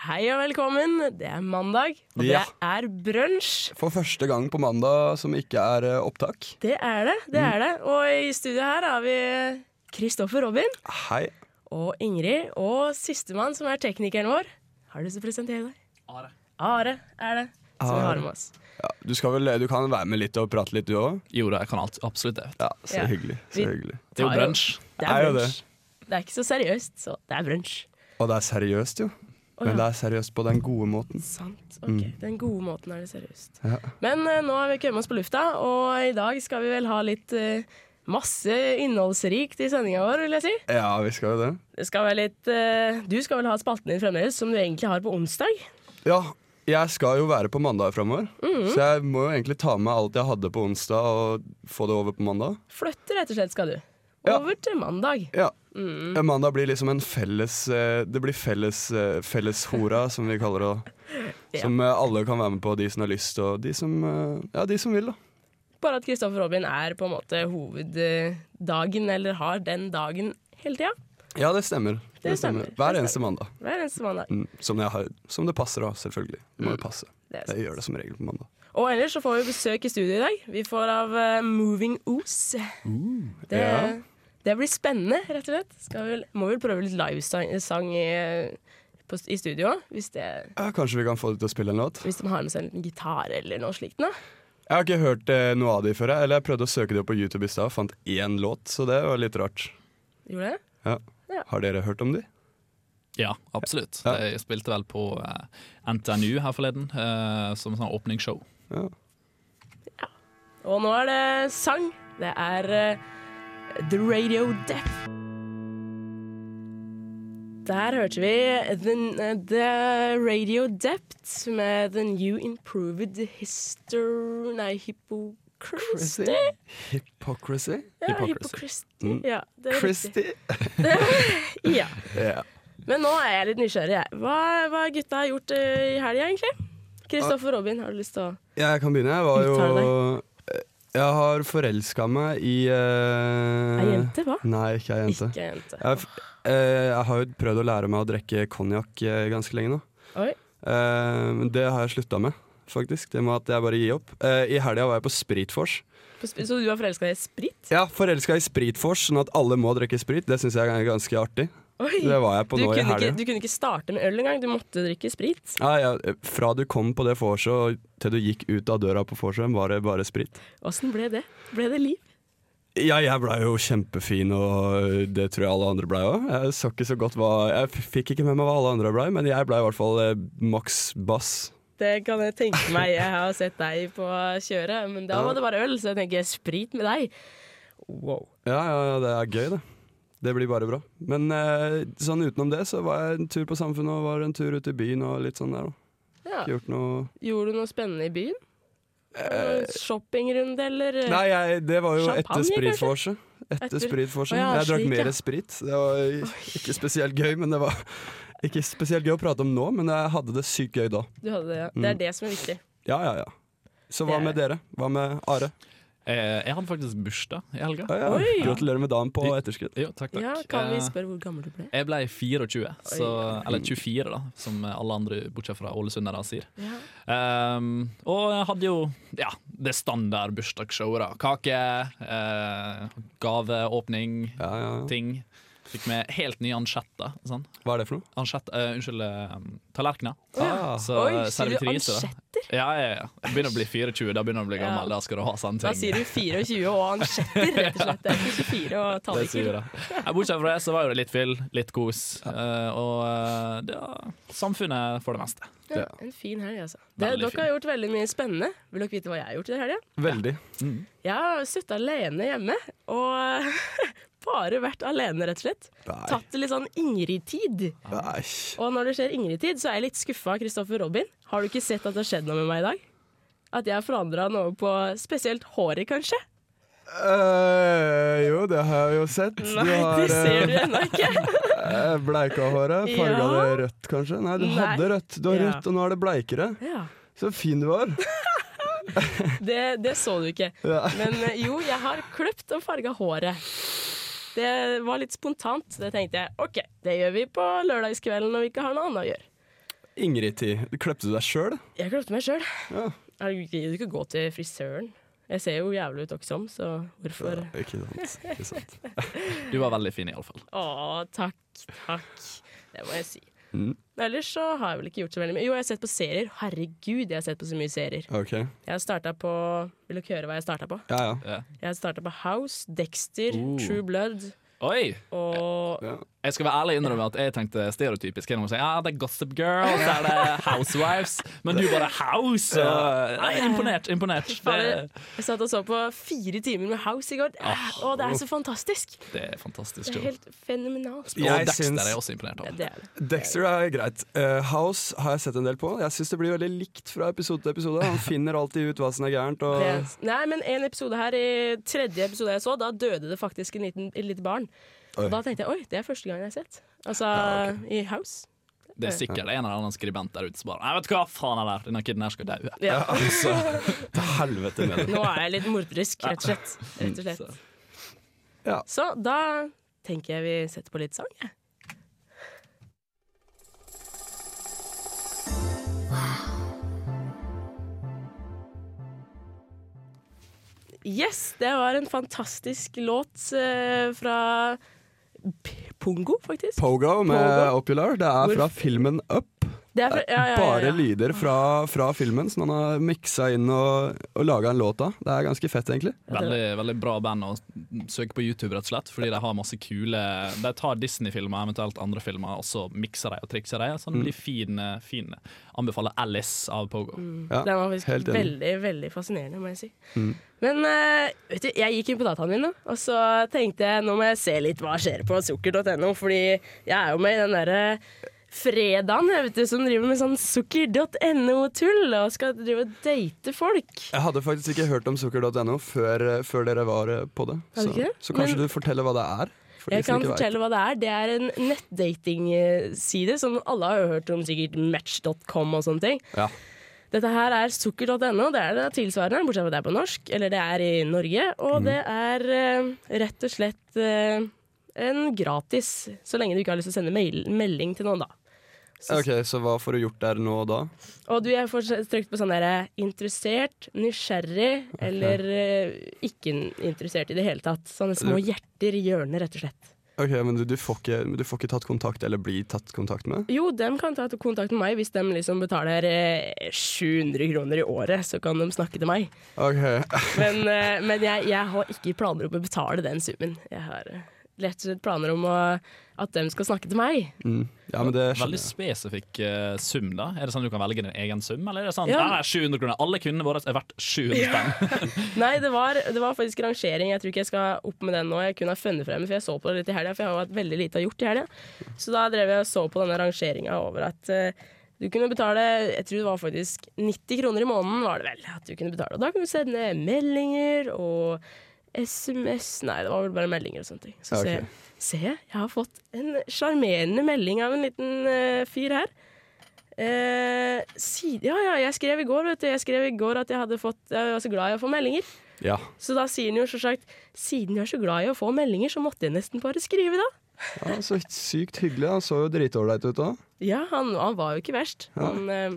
Hei og velkommen. Det er mandag, og Ja. det er brunsj. For første gang på mandag som ikke er eh, opptak. Det er det, det Mm. er det. Og i studio her har vi Kristoffer Robin Hei. og Ingrid. Og sistemann, som er teknikeren vår. Har du lyst til å presentere deg? Are. Are er det. Som vi Are. har med oss. Ja, du, skal vel, du kan være med litt og prate litt, du òg? Jo da, jeg kan alt, absolutt det. Ja, så Ja. hyggelig. Vi- Så hyggelig. Det er Tar jo jo- brunsj. Det Er er jo brunsj. Det er ikke så seriøst, så det er brunsj. Og det er seriøst, jo. Å, Men ja. det er seriøst på den gode måten. Sant. Ok, Den gode måten er det seriøst. Mm. Ja. Men eh, nå har vi kommet oss på lufta, og i dag skal vi vel ha litt eh, masse innholdsrikt i sendinga vår, vil jeg si. Ja, vi skal jo det. Det skal være litt eh, Du skal vel ha spalten din fremdeles, som du egentlig har på onsdag? Ja, jeg skal jo være på mandag framover, Mm. så jeg må jo egentlig ta med alt jeg hadde på onsdag, og få det over på mandag. Flytte, rett og slett, skal du. Ja. Over til mandag. Ja. Mm. Eh, Mandag blir liksom en felles eh, Det blir felles, eh, felleshora, som vi kaller det. da. Ja. Som eh, alle kan være med på, de som har lyst, og de som, eh, ja, de som vil, da. Bare at Kristoffer Robin er på en måte hoveddagen, eller har den dagen hele tida. Ja, det stemmer. Det, stemmer. stemmer. Det Hver stemmer. eneste mandag. Hver eneste mandag. Mm, som, jeg har, som det passer, da, selvfølgelig. Det må jo passe. Mm. Det er sant. Jeg gjør det som regel på mandag. Og ellers så får vi besøk i studio i dag. Vi får av eh, Moving Os. det, ja. det blir spennende, rett og slett. Skal vi, må vel prøve litt livesang sang i, eh, på, i studio, hvis, det, Ja, kanskje vi kan få dem til å spille en låt? hvis de har med seg en liten gitar eller noe slikt. Nå. Jeg har ikke hørt eh, noe av de før. jeg, Eller jeg prøvde å søke det opp på YouTube i stad, og fant én låt, så det var litt rart. Gjorde det? Ja. Ja. Har dere hørt om de? Ja, absolutt. Ja. Jeg spilte vel på eh, NTNU her forleden, eh, som sånn åpningsshow. Ja. Og nå er det sang. Det er eh, The Radio Death. Der hørte vi The, the Radio Depth med The New Improved History Nei, Hypocristy. Hypocrisy? Mm. Ja, Hypocrisy. Hypocristy. Ja, det er riktig. Christy? Ja. Ja. Men nå er jeg litt nysgjerrig. Jeg. Hva, hva har gutta gjort eh, i helga, egentlig? Ah. Kristoffer Robin, har du lyst til å Jeg kan begynne. Jeg var Uttaler jo Eh, Jeg har forelska meg i uh... Ei jente, hva? Nei, ikke ei jente. Ikke jente. Jeg, f- eh, jeg har jo prøvd å lære meg å drikke konjakk eh, ganske lenge nå. Oi. Eh, men det har jeg slutta med, faktisk. Det må at jeg bare gir opp. Eh, I helga var jeg på Spritfors. På sp- Så du har forelska deg i sprit? Ja, forelska i Spritfors, sånn at alle må drikke sprit. Det syns jeg er ganske artig. Oi. Det var jeg på du nå i kunne, ikke, helga. du kunne ikke starte med øl engang, du måtte drikke sprit. Ja, ja, fra du kom på det vorset og til du gikk ut av døra på vorset, var det bare sprit. Åssen ble det? Ble det liv? Ja, jeg blei jo kjempefin, og det tror jeg alle andre blei òg. Jeg så ikke så godt hva Jeg f- fikk ikke med meg hva alle andre blei, men jeg blei i hvert fall eh, maks bass. Det kan jeg tenke meg. Jeg har sett deg på kjøret, men da var det bare øl, så jeg tenker sprit med deg. Wow. Ja, ja, ja, det er gøy, det. Det blir bare bra. Men eh, sånn utenom det, så var jeg en tur på Samfunnet og var en tur ute i byen og litt sånn der, da. Ja. Ikke gjort noe Gjorde du noe spennende i byen? Noen Shoppingrunde, eller? Nei, jeg, det var jo Champagne, etter spritforset. Etter Etter- Å spritforset. ja, jeg drakk slik, ja. mer sprit. Det var ikke spesielt gøy, men det var ikke spesielt gøy å prate om nå, men jeg hadde det sykt gøy da. Du hadde det, ja. Det er det som er viktig. Ja, ja, ja. Så hva Det- med dere? Hva med Are? Eh, jeg hadde faktisk bursdag i helga. Ja, ja. Oi! Gratulerer med dagen på etterskudd. Jo, takk, takk. Ja, kan vi Eh, spørre hvor gammel du ble? jeg ble 24, så, eller 24 da, som alle andre bortsett fra ålesundere sier. Ja. Ehm, og jeg hadde jo ja, det standard bursdagsshowet. da. Kake, eh, gaveåpning, Ja, ja. ja. ting. Fikk med helt nye ansjetter. Sånn. Hva er det for noe? Ansjett, eh, unnskyld, eh, tallerkener. Ah, Så Oi, sier du servitriser, Altså, da. ansjetter? Ja, ja, ja. Begynner å bli 24, da begynner du å bli Ja. gammel. Da skal du ha sånne Da ting. sier du 24 og ansjetter, rett og slett. Det er ikke 24 og Det sier talliker. jeg. Nei, Bortsett fra det, så var det litt fyll, litt kos. eh, og eh, det var samfunnet for det meste. Ja, en fin helg, altså. Det, Veldig dere fin. har gjort veldig mye spennende. Vil dere vite hva jeg har gjort i helga? Veldig. Jeg har sittet alene hjemme, og bare vært alene, rett og slett. Nei. Tatt det litt sånn Ingrid-tid. Nei. Og når det skjer Ingrid-tid, så er jeg litt skuffa av Kristoffer Robin. Har du ikke sett at det har skjedd noe med meg i dag? At jeg har forandra noe på spesielt håret, kanskje? Eh, jo, det har jeg jo sett. Du Nei, det ser du ennå ikke. eh, bleika håret. Farga Ja. det rødt, kanskje? Nei, du Nei. hadde rødt. Du har Ja. rødt, og nå er det bleikere. Ja, Så fin du var. det, det så du ikke. Ja. Men eh, jo, jeg har kløpt og farga håret. Det var litt spontant. så Det tenkte jeg OK, det gjør vi på lørdagskvelden når vi ikke har noe annet å gjøre. Ingrid-tid. Klepte du deg sjøl? Jeg kløpte meg sjøl. Ja. Jeg gidder ikke gå til frisøren. Jeg ser jo jævlig ut også, så hvorfor Ikke sant. Ikke sant. Du var veldig fin, iallfall. Å, takk, takk. Det må jeg si. Mm. Ellers så har jeg vel ikke gjort så veldig mye. Jo, jeg har sett på serier. Herregud, jeg har sett på så mye serier. Ok. Jeg har starta på Vil dere høre hva jeg starta på? Ja, ja. Ja. Jeg har starta på House, Dexter, Oh. True Blood Oi! og ja. Jeg skal være ærlig og innrømme at jeg tenkte stereotypisk. Jeg må si, ja, det er Gossip Girl, så er det Housewives. Men du bare House! Og, nei, imponert. imponert. Fader, Det, Jeg satt og så på fire timer med House i går. Ah, Å, oh. det er så fantastisk! det er fantastisk. Det er Jo. helt fenomenalt. Og Jeg Dexter syns- er jeg også imponert av. Det er det. Dexter er greit. Eh, House har jeg sett en del på. Jeg syns det blir veldig likt fra episode til episode. Han finner alltid ut hva som er gærent. Og... Det- Nei, men en episode her, i tredje episode jeg så, da døde det faktisk en liten, et lite barn. Oi. Og da tenkte jeg oi, det er første gang jeg har sett. Altså i House. Det er sikkert en eller annen skribent der ute som bare Nei, vet du hva faen er det her? Denne kiden her skal daue. Ja. Altså, til helvete med det. Nå er jeg litt morderisk, rett og slett. Rett og slett. Ja. Så da tenker jeg vi setter på litt sang, jeg. Yes, det var en fantastisk låt eh, fra P- Pongo, faktisk. Pogo med Pogo. Opular. Det er fra Hvorfor- filmen Up. Det er fra- ja, ja, ja, ja. Bare lyder fra, fra filmen som han har miksa inn og, og laga en låt av. Det er ganske fett, egentlig. Veldig, veldig bra band å søke på YouTube, rett og slett, fordi de har masse kule De tar Disney-filmer, eventuelt andre filmer, og så mikser de og trikser de. Mm. Så det blir fin, eh, fin. Anbefaler Alice av Pogo. Ja, Den var faktisk helt enig. Mm. veldig veldig fascinerende, må jeg si. Men eh, vet du, jeg gikk inn på dataen min, da, og så tenkte jeg nå må jeg se litt hva skjer på sukker.no, fordi jeg er jo med i den derre Fredagen, jeg vet du, som driver med sånn sukker.no-tull og skal drive og date folk. Jeg hadde faktisk ikke hørt om sukker.no før, før dere var eh, på det. Har Så, du ikke det? så kanskje Men- du forteller hva det er? for de Jeg som kan ikke vet. fortelle hva det er. Det er en nettdatingside som alle har jo hørt om, sikkert match.com og sånne ting. Ja. Dette her er sukker.no, det er det tilsvarende, bortsett fra at det er på norsk, eller det er i Norge, og det er eh, rett og slett eh, en gratis, så lenge du ikke har lyst til å sende mail, melding til noen da. Så, Ok, Så hva får du gjort der nå og da? Og du er fortsatt trykt på sånn der interessert, nysgjerrig, eller eh, ikke interessert i det hele tatt. Sånne små hjerter i hjørnet, rett og slett. Ok, Men du, du, får ikke, du får ikke tatt kontakt eller bli tatt kontakt med? Jo, dem kan ta kontakt med meg hvis de liksom betaler eh, 700 kroner i året, så kan de snakke til meg. Ok, Men, eh, men jeg, jeg har ikke planer om å betale den summen. Jeg har eh, rett og slett planer om å, at de skal snakke til meg. mm. Ja, men det skjønner Veldig jeg. spesifikk eh, sum, da. Er det sånn du kan velge din egen sum, eller er det sånn Ja. nei, nei, 700 kroner? Alle kundene våre er verdt 700 spenn. Nei, det var, det var faktisk rangering. Jeg tror ikke jeg skal opp med den nå. Jeg kunne ha funnet frem, for jeg så på det litt i helga, for jeg har jo hatt veldig lite å gjort i helga. Så da drev jeg og så på denne rangeringa over at eh, du kunne betale jeg tror det var faktisk 90 kroner i måneden. var det vel at du kunne betale. Og da kunne du sende meldinger og SMS Nei, det var vel bare meldinger og sånne ting. Så Ja, ok. ser jeg- ser jeg, jeg har fått en sjarmerende melding av en liten eh, fyr her. Eh, si, ja, ja, jeg skrev i går vet du, Jeg skrev i går at jeg hadde fått Jeg var så glad i å få meldinger. Ja. Så da sier han jo selvsagt Siden jeg er så glad i å få meldinger, så måtte jeg nesten bare skrive, da. ja, så sykt hyggelig. Han så jo dritålreit ut da. Ja, han, han var jo ikke verst. Han eh,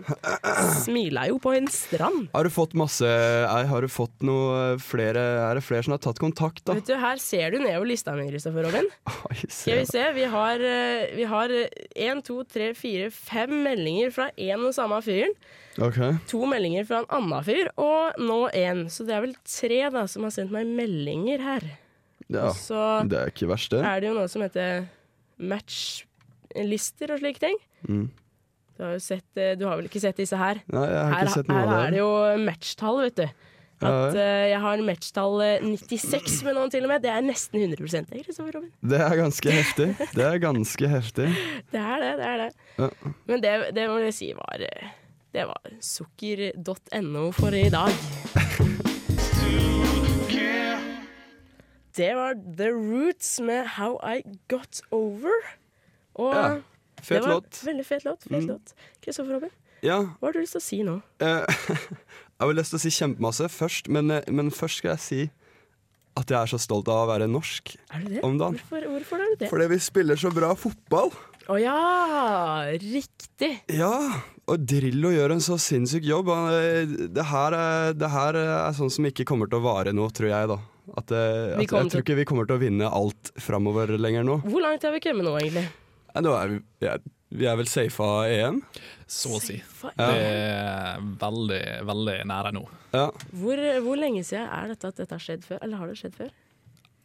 smila jo på en strand. Har du fått masse nei, Har du fått noe eh, flere Er det flere som har tatt kontakt, da? Vet du, Her ser du nedover lista mi, Kristoffer Robin. Oi, se Skal vi da. se. Vi har, eh, vi har én, to, tre, fire, fem meldinger fra én og samme fyren. Ok. To meldinger fra en annen fyr, og nå én. Så det er vel tre da som har sendt meg meldinger her. Ja. Så Det er ikke verst, det. er det jo noe som heter matchlister og slike ting. Mm. Du har jo sett, eh, du har vel ikke sett disse her? Nei, jeg har Her, ikke sett noe her av er det det. jo matchtall, vet du. Ja, At eh, jeg har matchtall eh, 96 med noen til og med. Det er nesten 100 det, Kristoffer Robin. Det er ganske heftig. Det er ganske heftig. Det er det, det er det. Ja. Men det, det må jeg si var eh, Det var sukker.no for i dag. Det var The Roots med How I Got Over. Og Ja, det Fet var låt. Mm. veldig fet låt. Fet låt. Kristoffer Robin, Ja. hva har du lyst til å si nå? eh, jeg har lyst til å si kjempemasse først, men, eh, men først skal jeg si at jeg er så stolt av å være norsk Er du det? om dagen. Hvorfor, hvorfor er du det? Fordi vi spiller så bra fotball. Å ja! Riktig. Ja, og Drillo gjør en så sinnssyk jobb. Han, eh, Det her, er- det her er sånn som ikke kommer til å vare nå, tror jeg. da at, eh, Vi at, kommer Jeg tror ikke vi kommer til å vinne alt framover lenger nå. Hvor langt har vi kommet nå, egentlig? Eh, Nå er vi, vi er- vi er vel safe av EM. så å si. Faen, Det er veldig, veldig nære nå. Ja. Hvor, hvor lenge siden er dette at dette har skjedd før? Eller har det skjedd før?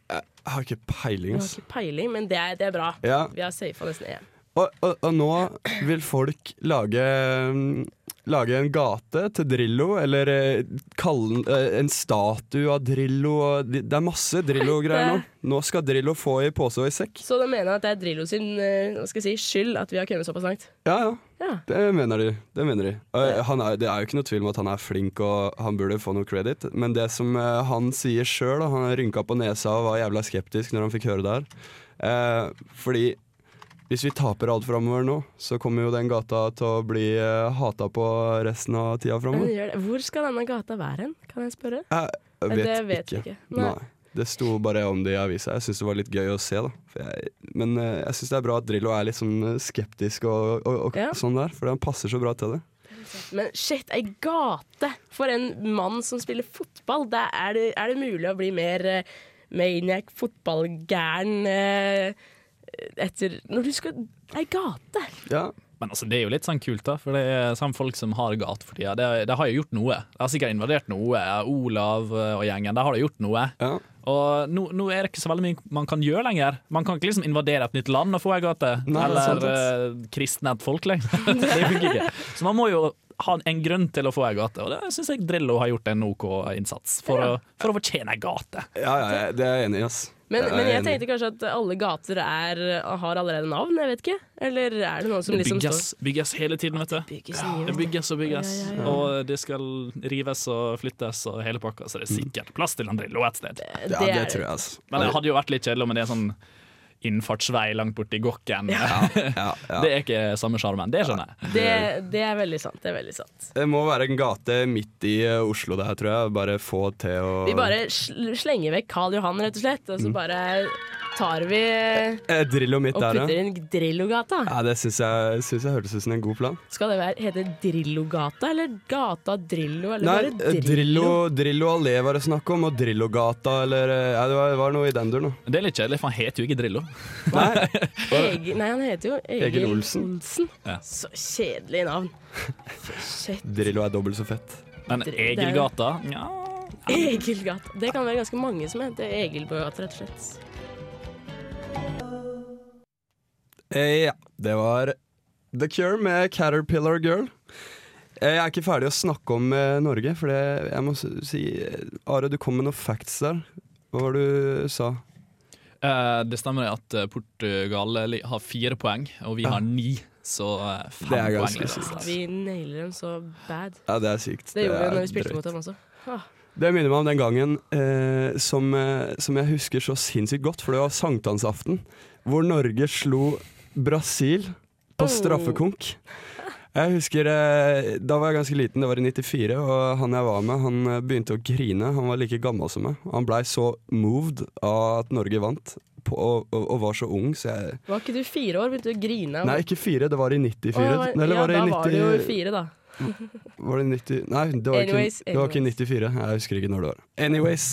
Jeg har ikke peiling, Jeg har ass. ikke peiling, men det er, det er bra. Ja. Vi har safa nesten EM. Og, og, og nå vil folk lage mm, Lage en gate til Drillo, eller eh, kalle den- eh, en statue av Drillo. og de- Det er masse Drillo-greier nå. Nå skal Drillo få i pose og i sekk. Så da mener jeg at det er Drillo sin eh, hva skal jeg si, skyld at vi har kommet såpass langt. Ja, ja. Ja. Det mener de. Det, mener de. Eh, han er, det er jo ikke noe tvil om at han er flink og han burde få noe credit, men det som eh, han sier sjøl, han rynka på nesa og var jævla skeptisk når han fikk høre det her Eh, Fordi hvis vi taper alt framover nå, så kommer jo den gata til å bli eh, hata på resten av tida Men framover. gjør det. Hvor skal denne gata være hen, kan jeg spørre? Jeg det vet vi ikke. Nei. Nei. Det sto bare om det i avisa. Jeg syns det var litt gøy å se, da. For jeg, men eh, jeg syns det er bra at Drillo er litt sånn skeptisk og, og, og Ja. sånn der, fordi han passer så bra til det. Men shit, ei gate for en mann som spiller fotball! Da er, det, er det mulig å bli mer eh, maniac, fotballgæren eh, etter Når du skal Ei gate! Ja, Men altså, det er jo litt sånn kult, da. For det er sånn folk som har gate for tida. Det, det har jo gjort noe. Det har sikkert invadert noe. Olav eh, og gjengen, der har det gjort noe. ja. Og nå, nå er det ikke så veldig mye man kan gjøre lenger. Man kan ikke liksom invadere et nytt land og få ei gate. Nei, det er sant, Eller eh, kristne et folk lenger. det funker ikke. Så man må jo ha en grunn til å få ei gate, og det syns jeg Drillo har gjort en OK innsats for, å, for å fortjene ei gate. Ja, ja, ja, det er jeg enig i, ass. Men, Det er men jeg enig i. tenkte kanskje at alle gater er, har allerede navn, jeg vet ikke? Eller er det noen som Det liksom står bygges, bygges hele tiden, vet du. Bygges mye, Det vet du. bygges og bygges, Ja, ja, ja. og det skal rives og flyttes og hele pakka, så det Mm. er sikkert plass til en Drillo et sted. Ja, det, tror jeg, ass. Men det hadde jo vært litt kjedelig med det er sånn innfartsvei langt borti Gokken. Ja, ja. Det er ikke samme sjarmen, det skjønner jeg. Det, det er veldig sant. Det er veldig sant. Det må være en gate midt i eh, Oslo, det her, tror jeg. Bare få til å Vi bare sl slenger vekk Karl Johan, rett og slett, og Mm. så bare tar vi Eh, Drillo midt og der, putter ja. inn Drillogata. ja det syns jeg, syns jeg hørtes ut som en god plan. Skal det være, hete Drillogata, eller Gata Drillo, eller Nei, bare eh, Drillo, Drillo Allé var det snakk om, og Drillogata eller eh, ja, Det var, var noe i den duren, da. Det er litt kjedelig, for han heter jo ikke Drillo. Nei, Egil, nei, han heter jo Egil, Egil Olsen. Ja. Så kjedelig navn. Fy Shit. Drillo er dobbelt så fett. Men Dr- det er jo- Egilgata ja. Egilgata. Det kan være ganske mange som heter Egil på gata, rett og slett. Eh, ja, det var The Cure med Caterpillar Girl. Eh, jeg er ikke ferdig å snakke om eh, Norge, for det, jeg må s- si eh, Are, du kom med noen facts der. Hva var det du sa? Eh, Det stemmer at eh, Portugal li- har fire poeng, og vi har ni. Så eh, fem Det er poeng. ganske liksom. sykt. Vi nailer dem så bad. Ja, det er sykt. Det gjorde vi er når vi spilte drøyt. mot dem også. Ah, Det minner meg om den gangen eh, som, eh, som jeg husker så sinnssykt godt, for det var sankthansaften, hvor Norge slo Brasil på Oh. straffekonk. Jeg husker, eh, Da var jeg ganske liten, det var i 94, og han jeg var med, han eh, begynte å grine. Han var like gammel som meg. Han blei så moved av at Norge vant, på, og, og, og var så ung, så jeg Var ikke du fire år? Begynte du å grine? av- Nei, ikke fire, det var i 94. Å, ja, Eller var det ja, i da var det jo 90 fire, da. Var det 90 Nei, det var, Anyways, ikke, det var ikke 94. Jeg husker ikke når det var. Anyways.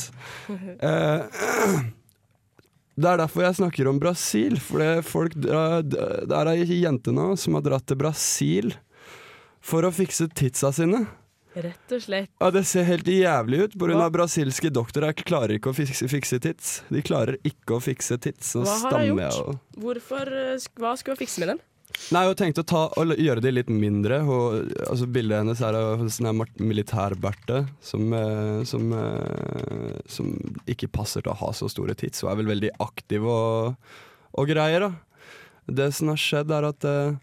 Eh, det er derfor jeg snakker om Brasil. For det, er folk, dra- d- det er ei jente nå som har dratt til Brasil for å fikse tidsa sine. Rett og slett. Ja, det ser helt jævlig ut pga. Hva? brasilske doktorer klarer ikke å fikse, fikse tits. De klarer ikke å fikse tits. Nå Hva har de stammer jeg gjort? og Hvorfor, eh, sk- hva skulle hun fikse med dem? Nei, hun tenkte å ta, og gjøre de litt mindre. Hun, altså Bildet hennes er av en sånn her mar- militærberte som, eh, som, eh, som ikke passer til å ha så store tits. Hun er vel veldig aktiv og, og greier, da. Det som har skjedd, er at eh,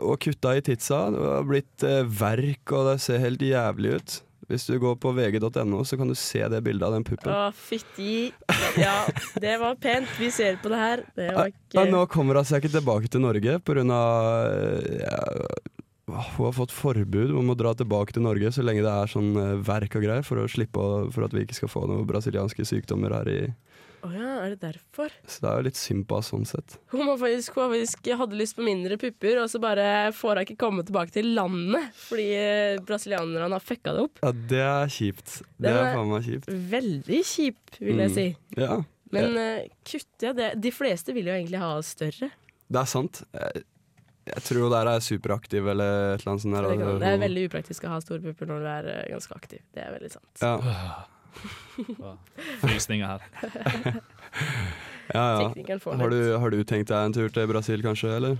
hun har kutta i titsa. Det har blitt eh, verk, og det ser helt jævlig ut. Hvis du går på vg.no, så kan du se det bildet av den puppen. Å, fytti. Ja, det var pent. Vi ser på det her. Det var Ja, nå ikke kommer hun seg ikke tilbake til Norge pga. Ja, eh, hun har fått forbud om å dra tilbake til Norge så lenge det er sånn eh, verk og greier, for å slippe å, for at vi ikke skal få noen brasilianske sykdommer her i Å ja. er det derfor? Så det er jo litt synd på henne sånn sett. Hun var faktisk, hun var faktisk hadde lyst på mindre pupper, og så bare får hun ikke komme tilbake til landet fordi eh, brasilianerne har fucka det opp. Ja, det er kjipt. Det Den er er- faen meg kjipt. Veldig kjip, vil jeg Mm. si. Ja. Men eh, kutt ja, det. De fleste vil jo egentlig ha større. Det er sant. Jeg, jeg tror hun der er superaktiv eller et eller annet sånt. Det, Der, kan, altså, det er hun- veldig upraktisk å ha store pupper når du er eh, ganske aktiv. Det er veldig sant. ja. Frysninger her. Ja, ja. Teknikeren får Har litt. du, har du tenkt deg en tur til Brasil, kanskje? eller?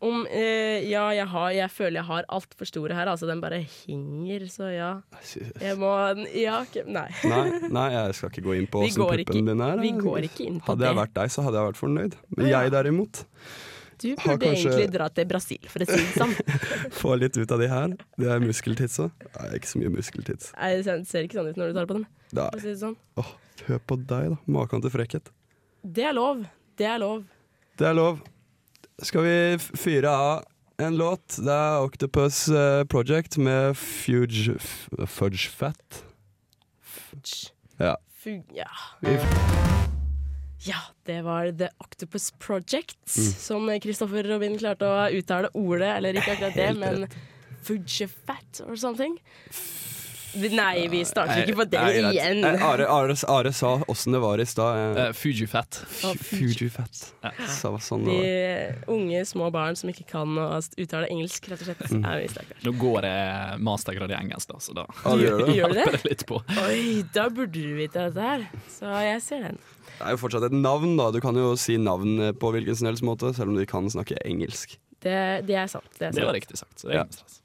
Om, eh, ja, jeg, har, jeg føler jeg har altfor store her. Altså, den bare henger, så ja. Jeg må Ja, ok, nei. Nei, nei, jeg skal ikke gå inn på Vi åssen går ikke- puppen din er. vi går ikke inn på hadde jeg det. vært deg, så hadde jeg vært fornøyd. Men jeg derimot, Du Har burde kanskje- egentlig dra til Brasil, for å si det sånn. få litt ut av de her. Det er muskeltitsa. Nei, ikke så mye muskeltits. Nei, Det ser- ser ikke sånn ut når du tar på dem. Nei. For å si det, sånn. Åh, hør på deg, da. Maken til frekkhet. det er lov. Det er lov. Det er lov. Skal vi f- fyre av en låt? Det er Octopus eh, Project med Fuge f- Fudge Fat. Tj. Ja. Fu ja. Vi f- ja, det var The Octopus Project, Mm. som Kristoffer Robin klarte å uttale ordet, eller ikke akkurat det, Helt men Fujifat or something. Vi- Nei, vi starter Ah, ikke på det Nei, greit. igjen. Nei, Are, Are, Are sa åssen det var i stad. eh, Uh, Fujifat. Ah, Fuge. Fuge Fat. Sa sånn det var. De unge, små barn som ikke kan å uttale engelsk, rett og slett, Mm. er vi stakkars. Nå går jeg mastergrad i engelsk, da, så da Ja, det gjør det. Gjør det? hjelper det litt på. Oi, da burde du vite dette her. Så jeg ser den. Det er jo fortsatt et navn, da. Du kan jo si navn eh, på hvilken som helst måte, selv om du kan snakke engelsk. Det, det er sant. Det er Det sant. var riktig sagt. Så det er ingen stress.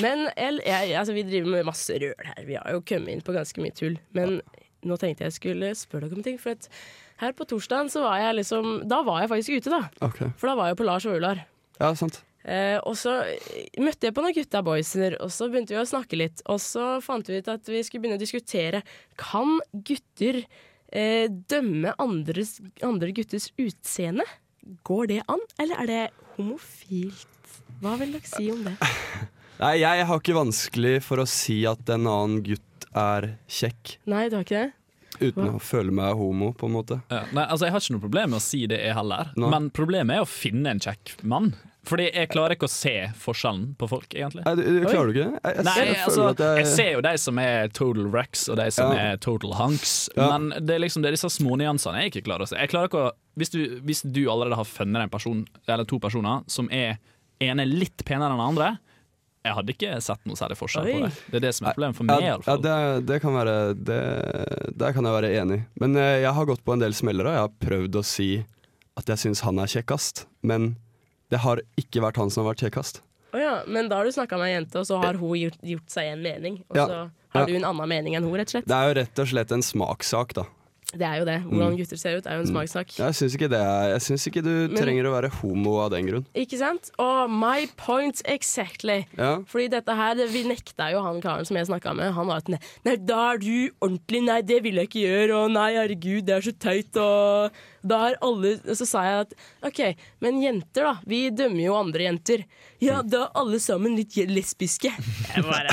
Men el, jeg, altså, vi driver med masse røl her. Vi har jo kommet inn på ganske mye tull. Men nå tenkte jeg skulle spørre dere om ting. For at her på torsdagen så var jeg liksom Da var jeg faktisk ute, da. Ok. For da var jeg på Lars og Ular. Ja, sant. Eh, og så eh, møtte jeg på noen gutta boyser, og så begynte vi å snakke litt. Og så fant vi ut at vi skulle begynne å diskutere Kan gutter eh, dømme andres, andre gutters utseende? Går det an, eller er det homofilt? Hva vil dere si om det? Nei, jeg har ikke vanskelig for å si at en annen gutt er kjekk, Nei, du har ikke det? uten å føle meg homo, på en måte. Ja, nei, altså Jeg har ikke noe problem med å si det, jeg heller. Nei. Men problemet er å finne en kjekk mann. Fordi jeg klarer ikke å se forskjellen på folk, egentlig. Nei, du, du, klarer du ikke det? Jeg, jeg, Nei, ser- jeg altså, føler jeg at jeg ser jo de som er total wrecks, og de som Ja. er total hunks, Ja. men det er liksom det er disse smånyansene jeg ikke klarer å se. Jeg klarer ikke å, hvis, du, hvis du allerede har funnet en person, eller to personer, som er ene litt penere enn den andre, jeg hadde ikke sett noe særlig forskjell Oi. på det. Det er det som er problemet for meg, ja, ja, iallfall. det, det kan være det, Der kan jeg være enig. Men eh, jeg har gått på en del smellere, og jeg har prøvd å si at jeg syns han er kjekkest. Men det har ikke vært han som har vært kjekkest. Å ja, men da har du snakka med ei jente, og så har hun gjort, gjort seg en mening. Og Ja. så har Ja. du en annen mening enn hun, rett og slett. Det er jo rett og slett en smakssak, da. Det er jo det. Hvordan Mm. gutter ser ut, er jo en smakssak. Jeg syns ikke det. er- Jeg syns ikke du trenger å være homo av den grunn. Ikke sant? Og my point exactly. Ja. Fordi dette her, det- vi nekta jo han karen som jeg snakka med. Han var at ne- nei, da er du ordentlig, nei, det vil jeg ikke gjøre, og nei, herregud, det er så teit, og da er alle og Så sa jeg at OK, men jenter, da. Vi dømmer jo andre jenter. Ja, da er alle sammen litt lesbiske. Jeg bare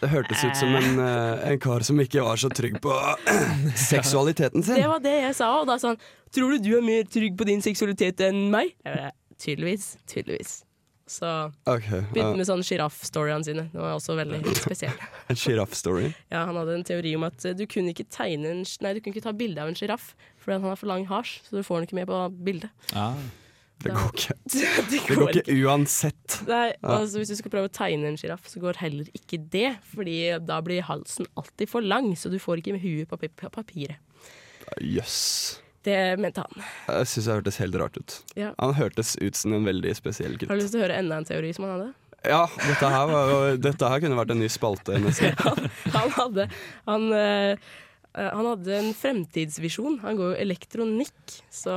Det hørtes ut som en, eh, en kar som ikke var så trygg på seksualiteten sin. Det var det jeg sa, og da sa han Tror du du er mer trygg på din seksualitet enn meg? Jeg bare, tydeligvis. Tydeligvis. Så Ok, ja. begynte med sånn sjiraff-storyene sine. Det var også veldig spesiell. En sjiraff-story. Ja, han hadde en teori om at eh, du kunne ikke tegne en, sj- Nei, du kunne ikke ta bilde av en sjiraff fordi han har for lang hasj, så du får den ikke med på bildet. Det Ja. går ikke. det Det går ikke uansett. Nei, altså Hvis du skal prøve å tegne en sjiraff, så går heller ikke det. Fordi da blir halsen alltid for lang, så du får ikke med huet på pap- papiret. Jøss. Det mente han. Jeg syns det hørtes helt rart ut. Ja. Han hørtes ut som en veldig spesiell Har du gutt. lyst til å høre enda en teori som han hadde? Ja, dette her, var, jo- dette her kunne vært en ny spalte. Nesten. Han hadde, han, eh, eh, han hadde en fremtidsvisjon. Han går jo elektronikk. Så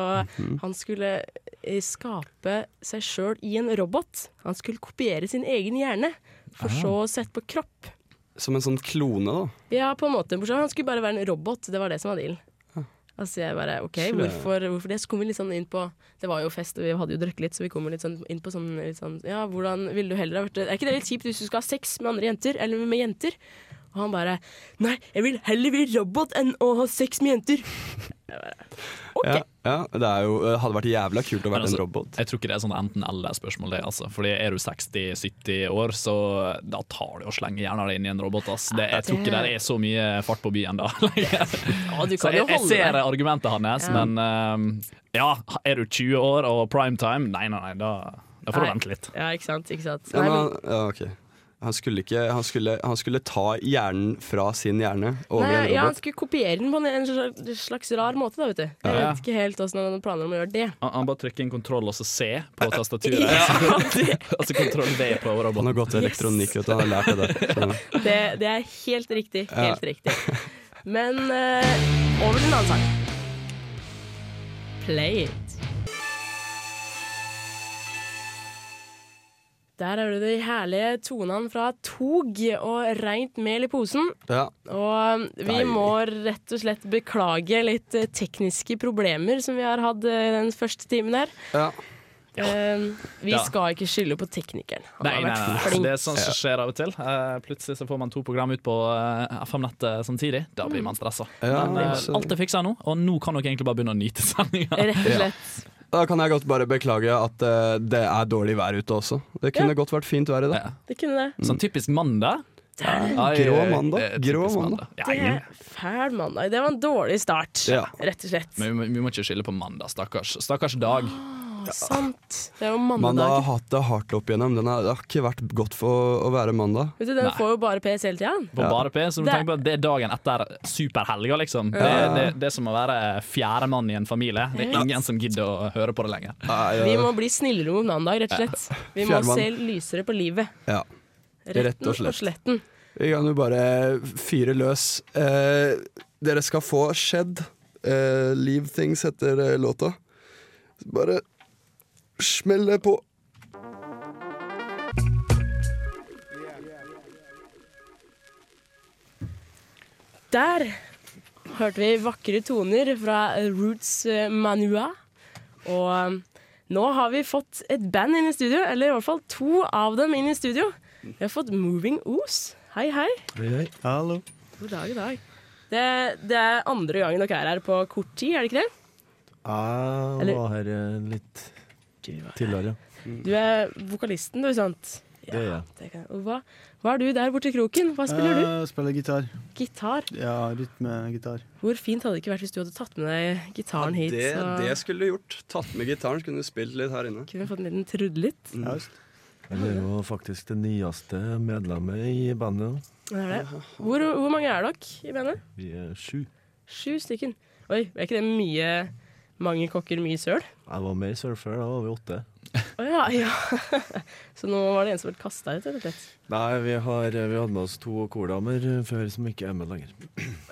han skulle eh, skape seg sjøl i en robot. Han skulle kopiere sin egen hjerne, for så å sette på kropp. Som en sånn klone, da. Ja, på en måte. Bortsett fra han skulle bare være en robot. Det var det som var dealen. Altså jeg bare, ok, Slø. hvorfor, hvorfor det? Så kom vi litt sånn inn på Det var jo fest, og vi hadde jo drukket litt, så vi kom jo litt sånn inn på sånn, litt sånn Ja, hvordan ville du heller ha vært Er ikke det litt kjipt hvis du skal ha sex med andre jenter, eller med jenter? Og han bare Nei, jeg vil heller bli robot enn å ha sex med jenter. Ja, ja, det er jo, eh, hadde vært jævla kult å Men være altså, en robot. Jeg tror ikke det er sånn enten-eller-spørsmål. det altså. Fordi Er du 60-70 år, så da tar du og slenger hjernen din i en robot. ass. Det, jeg tror ikke det er så mye fart på byen da. Ja, du Så kan jeg, jo jeg holde ser deg. argumentet hans, Ja. men ehm, ja, er du 20 år og prime time? Nei, nei, nei, da, da får du Nei. vente litt. Ja, ikke sant. Ikke sant. Ja, Nei, men, men, han- ja, ok. Han skulle, ikke, han, skulle, han skulle ta hjernen fra sin hjerne over nei, en ja, han robot. skulle kopiere den på en- en slags- slags rar måte, da, vet du. Jeg Ja. vet ikke helt åssen han hadde planer om å gjøre det. Han, han bare trykker inn kontroll og så C på tastaturet. Ja, det, altså kontroll V på Han roboten. har gått til elektronikk, vet du. Han har lært det der. Så. det, det er helt riktig. Ja. Helt riktig. Men eh, over til en annen sang. Play it. Der har du de herlige tonene fra Tog og Reint mel i posen. Ja. Og vi Deilig. må rett og slett beklage litt eh, tekniske problemer som vi har hatt eh, den første timen her. Ja. Eh, vi Ja. skal ikke skylde på teknikeren. Han Nei, har nei, vært nei. flink. Det er sånt som skjer av og til. Eh, plutselig så får man to program ut på eh, FM-nettet samtidig. Da blir man stressa. Ja, Men eh, altså. alt er fiksa nå, og nå kan dere egentlig bare begynne å nyte sendinga. Rett og Ja. slett. Da kan jeg godt bare beklage at eh, det er dårlig vær ute også. Det kunne godt vært fint vær i dag. Ja. Det kunne det. Sånn typisk mandag. Ai, Grå eh, mandag. eh, typisk Grå Det Ja, er fæl mandag. Det var en dårlig start, Ja. rett og slett. Men vi, må- vi må ikke skylde på mandag, stakkars. Stakkars dag. Å, sant. Det er jo Man har mandag. hatt det hardt opp igjennom. Den har, det har ikke vært godt for å være mandag. Vet du, Den Nei. får jo bare PS hele tida. På bare P, så du Det- tenker på at det er dagen etter superhelga, liksom. Det, Ja. det, det er som å være fjerdemann i en familie. Det er ingen som gidder å høre på det lenger. Nei, Vi ja, må bli snillere mot mandag, rett og slett. Vi må Fjernmann. se lysere på livet. ja. Rett Retten og og slett. sletten. Vi kan jo bare fyre løs. Eh, dere skal få Shed. Eh, Leave Things heter eh, låta. Bare smell det på. Der hørte vi vakre toner fra Roots eh, Manua. Og eh, nå har vi fått et band inn i studio, eller i hvert fall to av dem inn i studio. Vi har fått Moving Os. Hei, hei. Hallo. God dag, god dag. Det, det er andre gangen dere er her på kort tid, er det ikke det? Jeg Eller- var her eh, litt tidligere. Du er vokalisten, du, sant? Det er jeg. det kan jeg. Og hva, hva er du der borte i kroken? Hva spiller du? Eh, spiller gitar. Gitar. Ja, rytmegitar. Hvor fint hadde det ikke vært hvis du hadde tatt med deg gitaren hit? det, så det skulle du gjort. Tatt med gitaren, så kunne du spilt litt her inne. kunne vi fått en liten trudlet. Ja, just. Jeg er jo faktisk det nyeste medlemmet i bandet. Det er det. Hvor, hvor mange er dere i bandet? Vi er sju. Sju stykken. Oi, er ikke det mye mange kokker, mye søl? Jeg var med i Surfer, da var vi åtte. Å ja, ja. Så nå var det en som ble kasta ut, rett og slett. Nei, vi, har, vi hadde med oss to kordamer før som ikke er med lenger.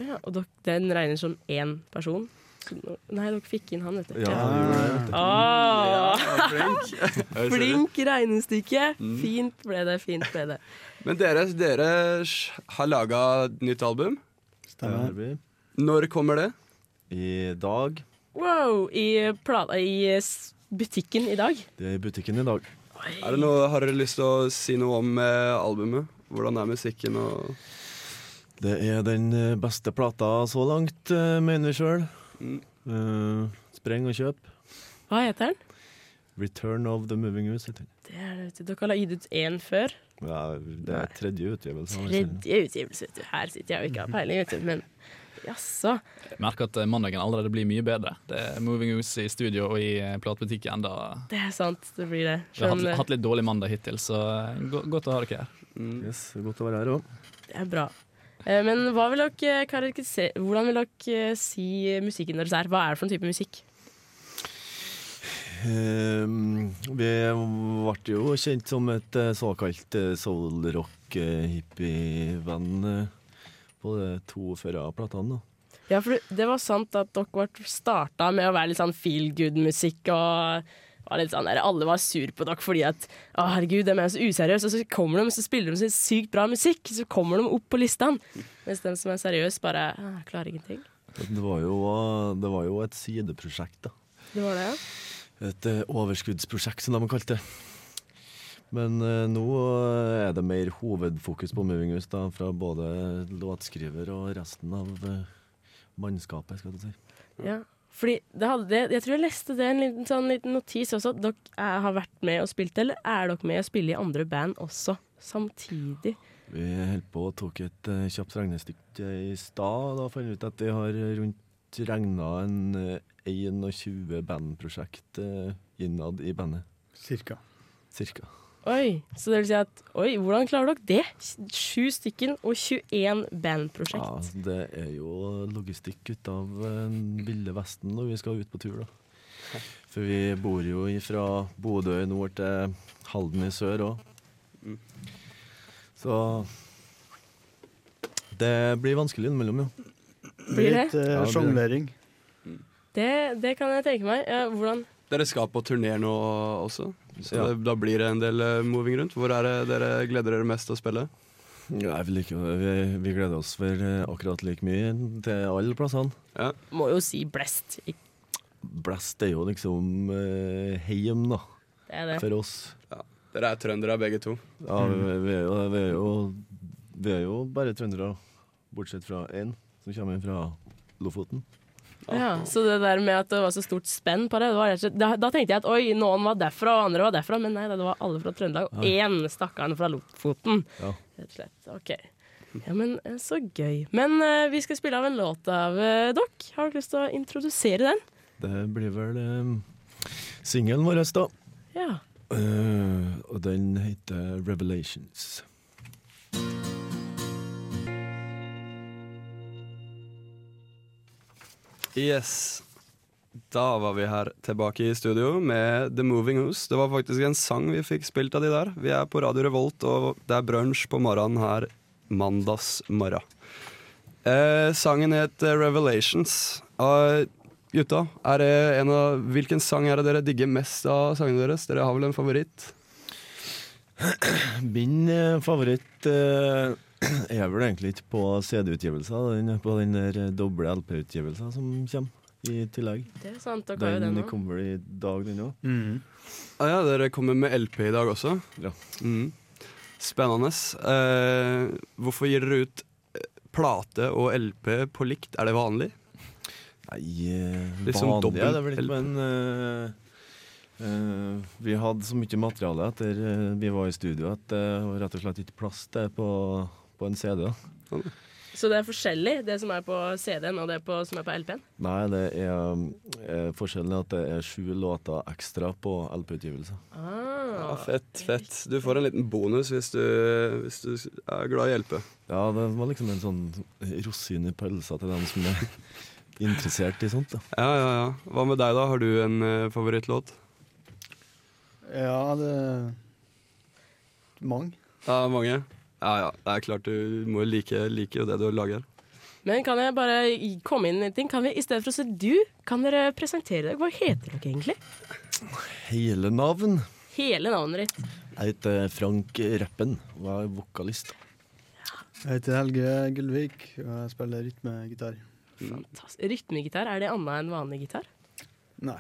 Å ja, og dere, den regner som én person? Så, nå- nei, dere fikk inn han, vet du. Ja, Ja. vi gjorde det. Å, flink. flink regnestykke! Fint ble det, fint ble det. Men dere, dere har laga nytt album. Det Stemmer. har vi. Når kommer det? I dag. Wow! I, plata, i s- butikken i dag. Det er i butikken i dag. Er det noe, har dere lyst til å si noe om eh, albumet? Hvordan er musikken og Det er den eh, beste plata så langt, eh, mener vi sjøl. Mm. Eh, Spreng og kjøp. Hva heter den? 'Return of the Moving House'. heter den. Det er det, vet du. Dere har gitt ut én før. Ja, det er tredje utgivelse. av den serien. Tredje utgivelse, vet du. Her sitter jeg og ikke har peiling, vet du. Men jaså. Jeg merker at eh, mandagen allerede blir mye bedre. Det er Moving Us i studio og i eh, platebutikken. Da Det er sant. Det blir det. vi har Selv om hatt, det- hatt litt dårlig mandag hittil, så eh, go godt å ha dere her. mm. Yes, det er godt å være her òg. Det er bra. Eh, Men hva vil dere karakterisere Hvordan vil dere eh, si musikken deres er? Hva er det for en type musikk? Ehm, vi ble jo kjent som et eh, såkalt eh, soulrock-hippie-band eh, på de to første platene. da. Ja, for det var sant at dere ble starta med å være litt sånn feel good-musikk og var litt sånn der, Alle var sur på dere fordi at Å, herregud, de er så useriøse. Og så kommer de, så spiller de så sykt bra musikk. Så kommer de opp på listene. Mens de som er seriøse, bare «Ah, klarer ingenting. Det var jo, det var jo et sideprosjekt, da. Det var det, ja. Et eh, overskuddsprosjekt, som de kalte det. Men eh, nå eh, er det mer hovedfokus på Moving Us da, fra både låtskriver og resten av eh, mannskapet, skal du si. Ja. Fordi det hadde, det- jeg tror jeg leste det en liten, sånn, liten notis også. Dere er, har vært med og spilt, eller er dere med og spiller i andre band også? Samtidig. Vi holdt på og tok et eh, kjapt regnestykke i stad. Da fant vi ut at vi har rundt regna en eh, 21 bandprosjekt eh, innad i bandet. Cirka. Cirka. Oi, så det vil si at Oi, hvordan klarer dere det? Sju stykken og 21 bandprosjekt. Ja, det er jo logistikk ut av eh, ville vesten når vi skal ut på tur, da. For vi bor jo fra Bodø i nord til Halden i sør òg. Så det blir vanskelig innimellom, jo. Blir det? Litt eh, Ja, det blir det. sjonglering. Det, det kan jeg tenke meg. Ja, hvordan Dere skal på turné nå også, så Ja. det, da blir det en del eh, moving rundt. Hvor er det dere gleder dere mest til å spille? Nei, vi, liker, vi, vi gleder oss for eh, akkurat like mye til alle plassene. Ja. Må jo si blest. Ikke- Blest er jo liksom eh, heim, da, Det er det. for oss. Dere er trøndere begge to. Ja, vi, vi, er jo, vi, er jo, vi er jo bare trøndere, bortsett fra én som kommer fra Lofoten. Ja, så det der med at det var så stort spenn på det, det var, rett og slett- da, da tenkte jeg at oi, noen var derfra og andre var derfra, men nei, da, det var alle fra Trøndelag og én stakkaren fra Lofoten. Ja. Rett og slett. OK. Ja, men eh, så gøy. Men eh, vi skal spille av en låt av eh, dere. Har dere lyst til å introdusere den? Det blir vel um, singelen vår, da. Ja. Eh, og den heter 'Revelations'. Yes. Da var vi her tilbake i studio med The Moving House. Det var faktisk en sang vi fikk spilt av de der. Vi er på Radio Revolt, og det er brunsj på morgenen her mandagsmorgen. Eh, sangen het eh, 'Revelations'. Eh, gutta, er det en av, hvilken sang er det dere digger mest av sangene deres? Dere har vel en favoritt? Min eh, favoritt eh, er vel egentlig ikke på CD-utgivelser, den er på den der eh, doble LP-utgivelsen som kommer i tillegg. Det er sant, dere har jo Den den òg. kommer vel i dag, den òg. Mm. Ah, ja, dere kommer med LP i dag også. Ja. Mm. Spennende. Eh, hvorfor gir dere ut eh, plate og LP på likt? Er det vanlig? Nei, eh, Litt sånn vanlig er det dobbelt- vel ikke, men eh, eh, vi hadde så mye materiale etter eh, vi var i studio at det var rett og slett ikke plass til det på, på en CD. da. Så det er forskjellig, det som er på CD-en og det på, som er på LP-en? Nei, det er, eh, forskjellen er at det er sju låter ekstra på LP-utgivelse. Ja, Ah. fett, fett. Du får en liten bonus hvis du, hvis du er glad i hjelpe. Ja, det var liksom en sånn rosin i pølsa til dem som er interessert i sånt. da. Ja, ja, ja. Hva med deg, da? Har du en eh, favorittlåt? Ja, det Mange. Ja, mange. Ja, ja. Det er klart du må jo like, like jo det du lager. Men kan jeg bare i- komme inn i en ting? Kan vi, I stedet for å si du, kan dere presentere dere? Hva heter dere egentlig? Hele navn? Hele navnet ditt. Jeg heter Frank Reppen og jeg er vokalist. Jeg heter Helge Gullvik, og jeg spiller rytmegitar. Fantastisk. Rytmegitar, er det annet enn vanlig gitar? Nei.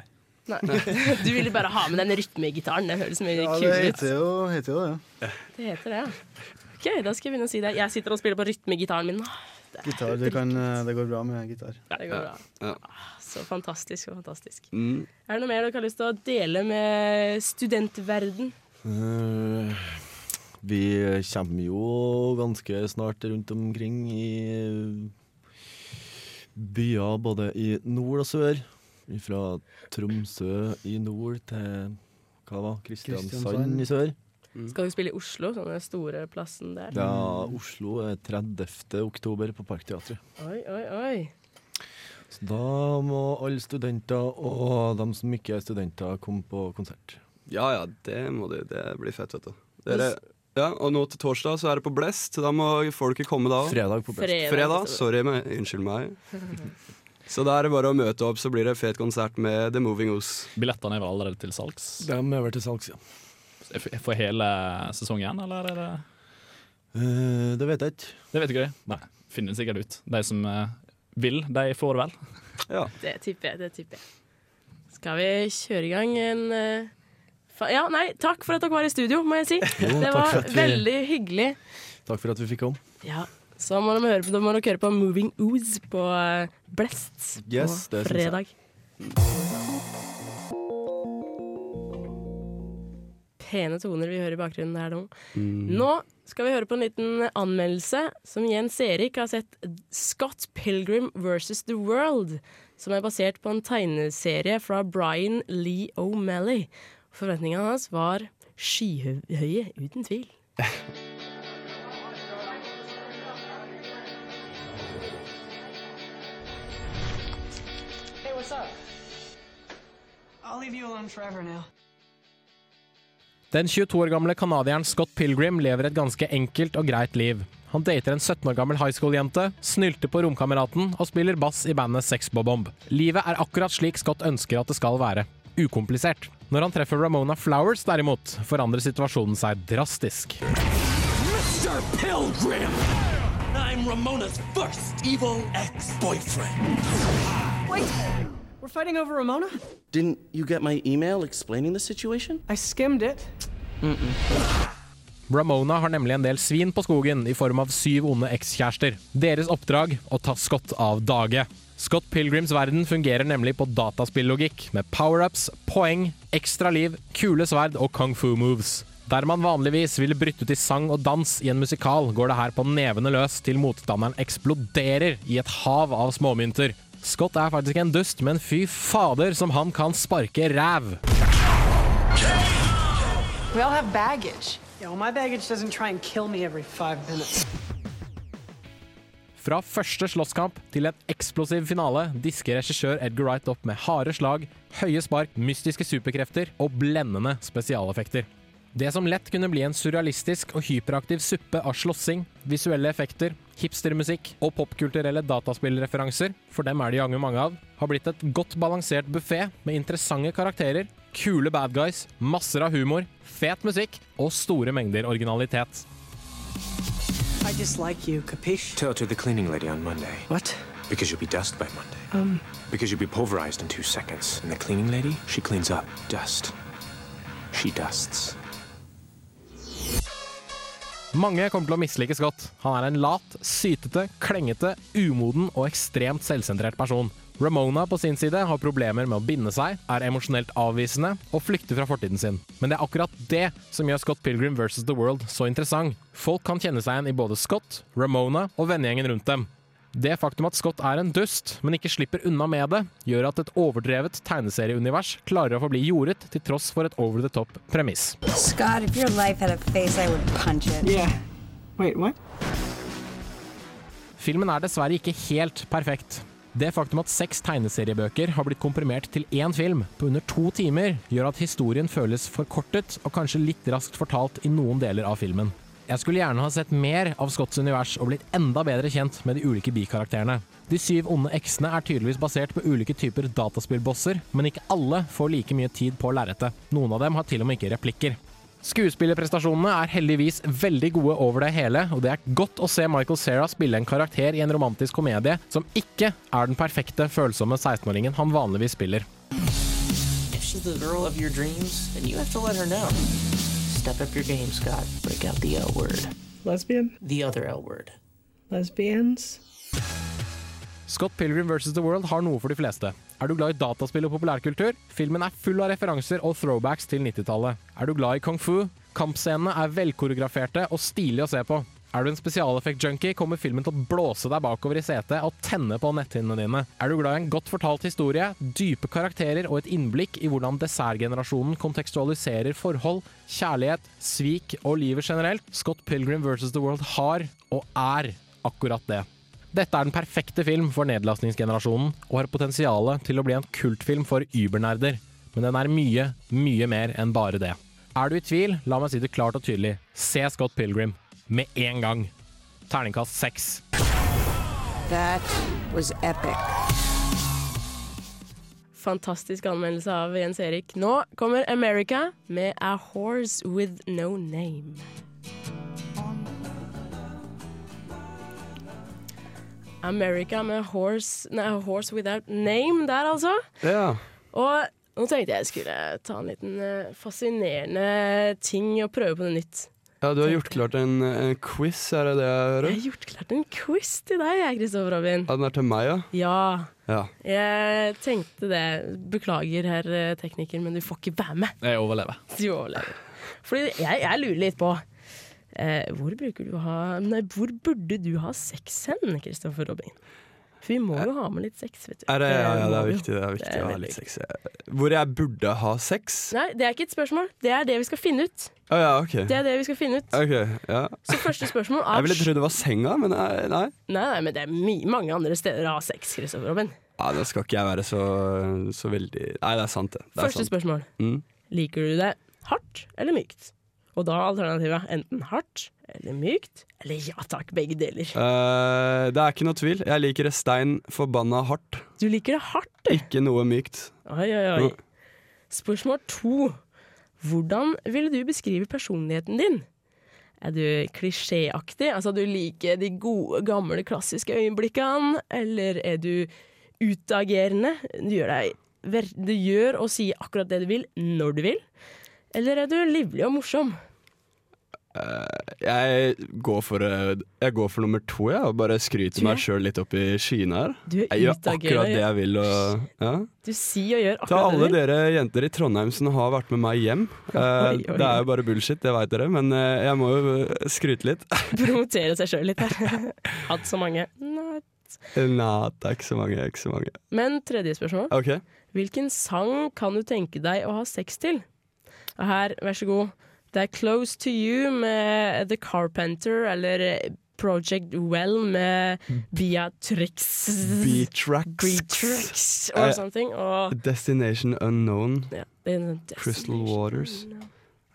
Nei. Du ville bare ha med den rytmegitaren. Det høres mye Ja, det kulere ut. heter jo, heter jo det. Det heter det, ja. OK, da skal jeg begynne å si det. Jeg sitter og spiller på rytmegitaren min. Åh, Gitar, det, kan, eh, det går bra med gitar. Det går bra. Ja. Ah, Så fantastisk, så fantastisk. Mm. Er det noe mer dere har lyst til å dele med studentverden? Eh, vi kommer jo ganske snart rundt omkring i byer både i nord og sør. Fra Tromsø i nord til hva det var, Kristiansand Kristiansand. i sør. Skal dere spille i Oslo, sånn den store plassen der? Ja, Oslo er 30. oktober på Parkteatret. Oi, oi, oi. Så da må alle studenter og de som ikke er studenter, komme på konsert. Ja ja, det må du. Det blir fett, vet du. Dere, ja, og nå til torsdag så er det på Blest. Da må folket komme da. Fredag på Blest. Fredag. altså. Sorry, meg. unnskyld meg. Så da er det bare å møte opp, så blir det fet konsert med The Moving Os. Billettene er vel allerede til salgs? De er vel til salgs, ja. F- For hele sesongen, eller er det Eh, det vet jeg ikke. Det vet ikke jeg. Nei. Finner sikkert ut. De som eh, vil, de får vel. Ja. Det tipper jeg. det tipper jeg. Skal vi kjøre i gang en eh, Fa- Ja, nei, takk for at dere var i studio, må jeg si. Det takk for var at vi- veldig hyggelig. Takk for at vi fikk komme. Ja, så må de høre på, da må dere høre på Moving Ooze på eh, Blest Yes, på det synes jeg. fredag. Pene toner vi hører i bakgrunnen her nå. Mm. Nå skal vi høre på en liten anmeldelse som Jens Erik har sett Scott Pilgrim vs. The World, som er basert på en tegneserie fra Brian Lee O'Malley. Forventningene hans var skyhøye, uten tvil. Hey, what's up? I'll leave you alone forever now. Den 22 år gamle canadieren Scott Pilgrim lever et ganske enkelt og greit liv. Han dater en 17 år gammel high school-jente, snylter på romkameraten og spiller bass i bandet Sex Bob Bomb. Livet er akkurat slik Scott ønsker at det skal være. Ukomplisert. Når han treffer Ramona Flowers derimot, forandrer situasjonen seg drastisk. Mr. Pilgrim! I'm Ramona's first evil ex boyfriend. We're fighting over Ramona? Didn't you get my email explaining the situation? I skimmed it. Ramona har nemlig en del svin på skogen i form av syv onde ekskjærester. Deres oppdrag å ta Scott av dage. Scott Pilgrims verden fungerer nemlig på dataspillogikk, med power-ups, poeng, ekstra liv, kule sverd og kung fu-moves. Der man vanligvis ville brytt ut i sang og dans i en musikal, går det her på nevene løs til motstanderen eksploderer i et hav av småmynter. Scott er faktisk en dust, men fy fader som han kan sparke ræv! We all have baggage. Yeah, well, my baggage doesn't try and kill me every five minutes. Fra første slåsskamp til en eksplosiv finale disker regissør Edgar Wright opp med harde slag, høye spark, mystiske superkrefter og blendende spesialeffekter. Det som lett kunne bli en surrealistisk og hyperaktiv suppe av slåssing, visuelle effekter, hipstermusikk og popkulturelle dataspillreferanser, for dem er det jaggu mange av, har blitt et godt balansert buffé med interessante karakterer, kule bad guys, masser av humor, fet musikk og store mengder originalitet. I just like you, capiche? Tell it to the cleaning lady on Monday. What? Because you'll be dust by Monday. Um. Because you'll be pulverized in two seconds. And the cleaning lady, she cleans up dust. She dusts. Mange kommer til å mislike Scott. Han er en lat, sytete, klengete, umoden og ekstremt selvsentrert person. Ramona på sin side har problemer med å binde seg, er emosjonelt avvisende og flykter fra fortiden sin. Men det er akkurat det som gjør Scott Pilgrim vs. The World så interessant. Folk kan kjenne seg igjen i både Scott, Ramona og vennegjengen rundt dem. Det faktum at Scott er en dust, men ikke slipper unna med det, gjør at et overdrevet tegneserieunivers klarer å forbli jordet til tross for et over the top premiss. Scott, if your life had a face, I would punch it. Yeah. Wait, what? Filmen er dessverre ikke helt perfekt. Det faktum at seks tegneseriebøker har blitt komprimert til én film på under to timer, gjør at historien føles forkortet og kanskje litt raskt fortalt i noen deler av filmen. Jeg skulle gjerne ha sett mer av Scotts univers og blitt enda bedre kjent med de ulike bikarakterene. De syv onde eksene er tydeligvis basert på ulike typer dataspillbosser, men ikke alle får like mye tid på lerretet. Noen av dem har til og med ikke replikker. Skuespillerprestasjonene er heldigvis veldig gode over det hele, og det er godt å se Michael Cera spille en karakter i en romantisk komedie som ikke er den perfekte, følsomme 16-åringen han vanligvis spiller. If she's the girl of your dreams, then you have to let her know. Step up your game, Scott. Break out the L word. Lesbian? The other L word. Lesbians? Scott Pilgrim vs. The World har noe for de fleste. Er du glad i dataspill og populærkultur? Filmen er full av referanser og throwbacks til 90-tallet. Er du glad i kung fu? Kampscenene er velkoreograferte og stilige å se på. Er du en spesialeffekt-junkie, kommer filmen til å blåse deg bakover i setet og tenne på netthinnene dine. Er du glad i en godt fortalt historie, dype karakterer og et innblikk i hvordan dessertgenerasjonen kontekstualiserer forhold, kjærlighet, svik og livet generelt? Scott Pilgrim vs. The World har, og er, akkurat det. Dette er den perfekte film for nedlastningsgenerasjonen, og har potensial til å bli en kultfilm for übernerder. Men den er mye, mye mer enn bare det. Er du i tvil, la meg si det klart og tydelig. Se Scott Pilgrim. Med en gang. Terningkast seks. That was epic. Fantastisk anmeldelse av Jens Erik. Nå kommer America med A Horse With No Name. America med horse, nei, horse Without Name der, altså. Ja. Og Nå tenkte jeg jeg skulle ta en liten eh, fascinerende ting og prøve på noe nytt. Ja, du har gjort klart en, en quiz, er Ah. det det jeg hører? Jeg har gjort klart en quiz til deg, jeg, Kristoffer Robin. Ja, den er til meg, ja? Ja. Ja. Jeg tenkte det. Beklager, herr eh, tekniker, men du får ikke være med. Jeg overlever. Du overlever. Fordi jeg, jeg lurer litt på eh, hvor, bruker du å ha, nei, hvor burde du ha sex hen, Kristoffer Robin? For vi må jo ha med litt sex, vet du. Er det, ja, ja, det må er vi jo. viktig. Det er viktig Eh, Det er å ha veldig litt sex. Hvor jeg burde ha sex? Nei, det er ikke et spørsmål. Det er det vi skal finne ut. Å ja, OK. Det er det vi skal finne ut. Ok, ja. Så første spørsmål Jeg er ville trodd det var senga, men nei. nei. Nei, nei, men det er my mange andre steder å ha sex, Kristoffer Robin. Ja, Da skal ikke jeg være så, så veldig Nei, det er sant, det. det er Første sant. spørsmål. Mm. Liker du det hardt eller mykt? Og da er alternativet enten hardt eller mykt eller ja takk, begge deler. Eh, det er ikke noe tvil. Jeg liker det stein forbanna hardt. Du liker det hardt, du. Ikke noe mykt. Oi, oi, oi. Spørsmål to. Hvordan ville du beskrive personligheten din? Er du klisjéaktig? Altså, du liker de gode, gamle, klassiske øyeblikkene? Eller er du utagerende? Du gjør, deg, ver- du gjør og sier akkurat det du vil, når du vil? Eller er du livlig og morsom? Eh, jeg, går for, eh, jeg går for nummer to, jeg, og bare skryter meg sjøl litt opp i skyene her. Du er Jeg gjør utagerende. akkurat det jeg vil. Og, ja. Du sier og gjør Til akkurat alle det du vil? dere jenter i Trondheim som har vært med meg hjem. eh, Oi, oi. Det er jo bare bullshit, det veit dere, men eh, jeg må jo eh, skryte litt. Promotere seg sjøl litt her. Hatt så mange. Nei. Nei, det er ikke så mange. det er Ikke så mange. Men tredje spørsmål. OK. Hvilken sang kan du tenke deg å ha sex til? Og her, vær så god. Det er Close to You med The Carpenter, eller Project Well med Mm. Via Trix. B-Tracks. Trix og sånne ting. Og Destination Unknown. ja, det er en- sånn Crystal Waters.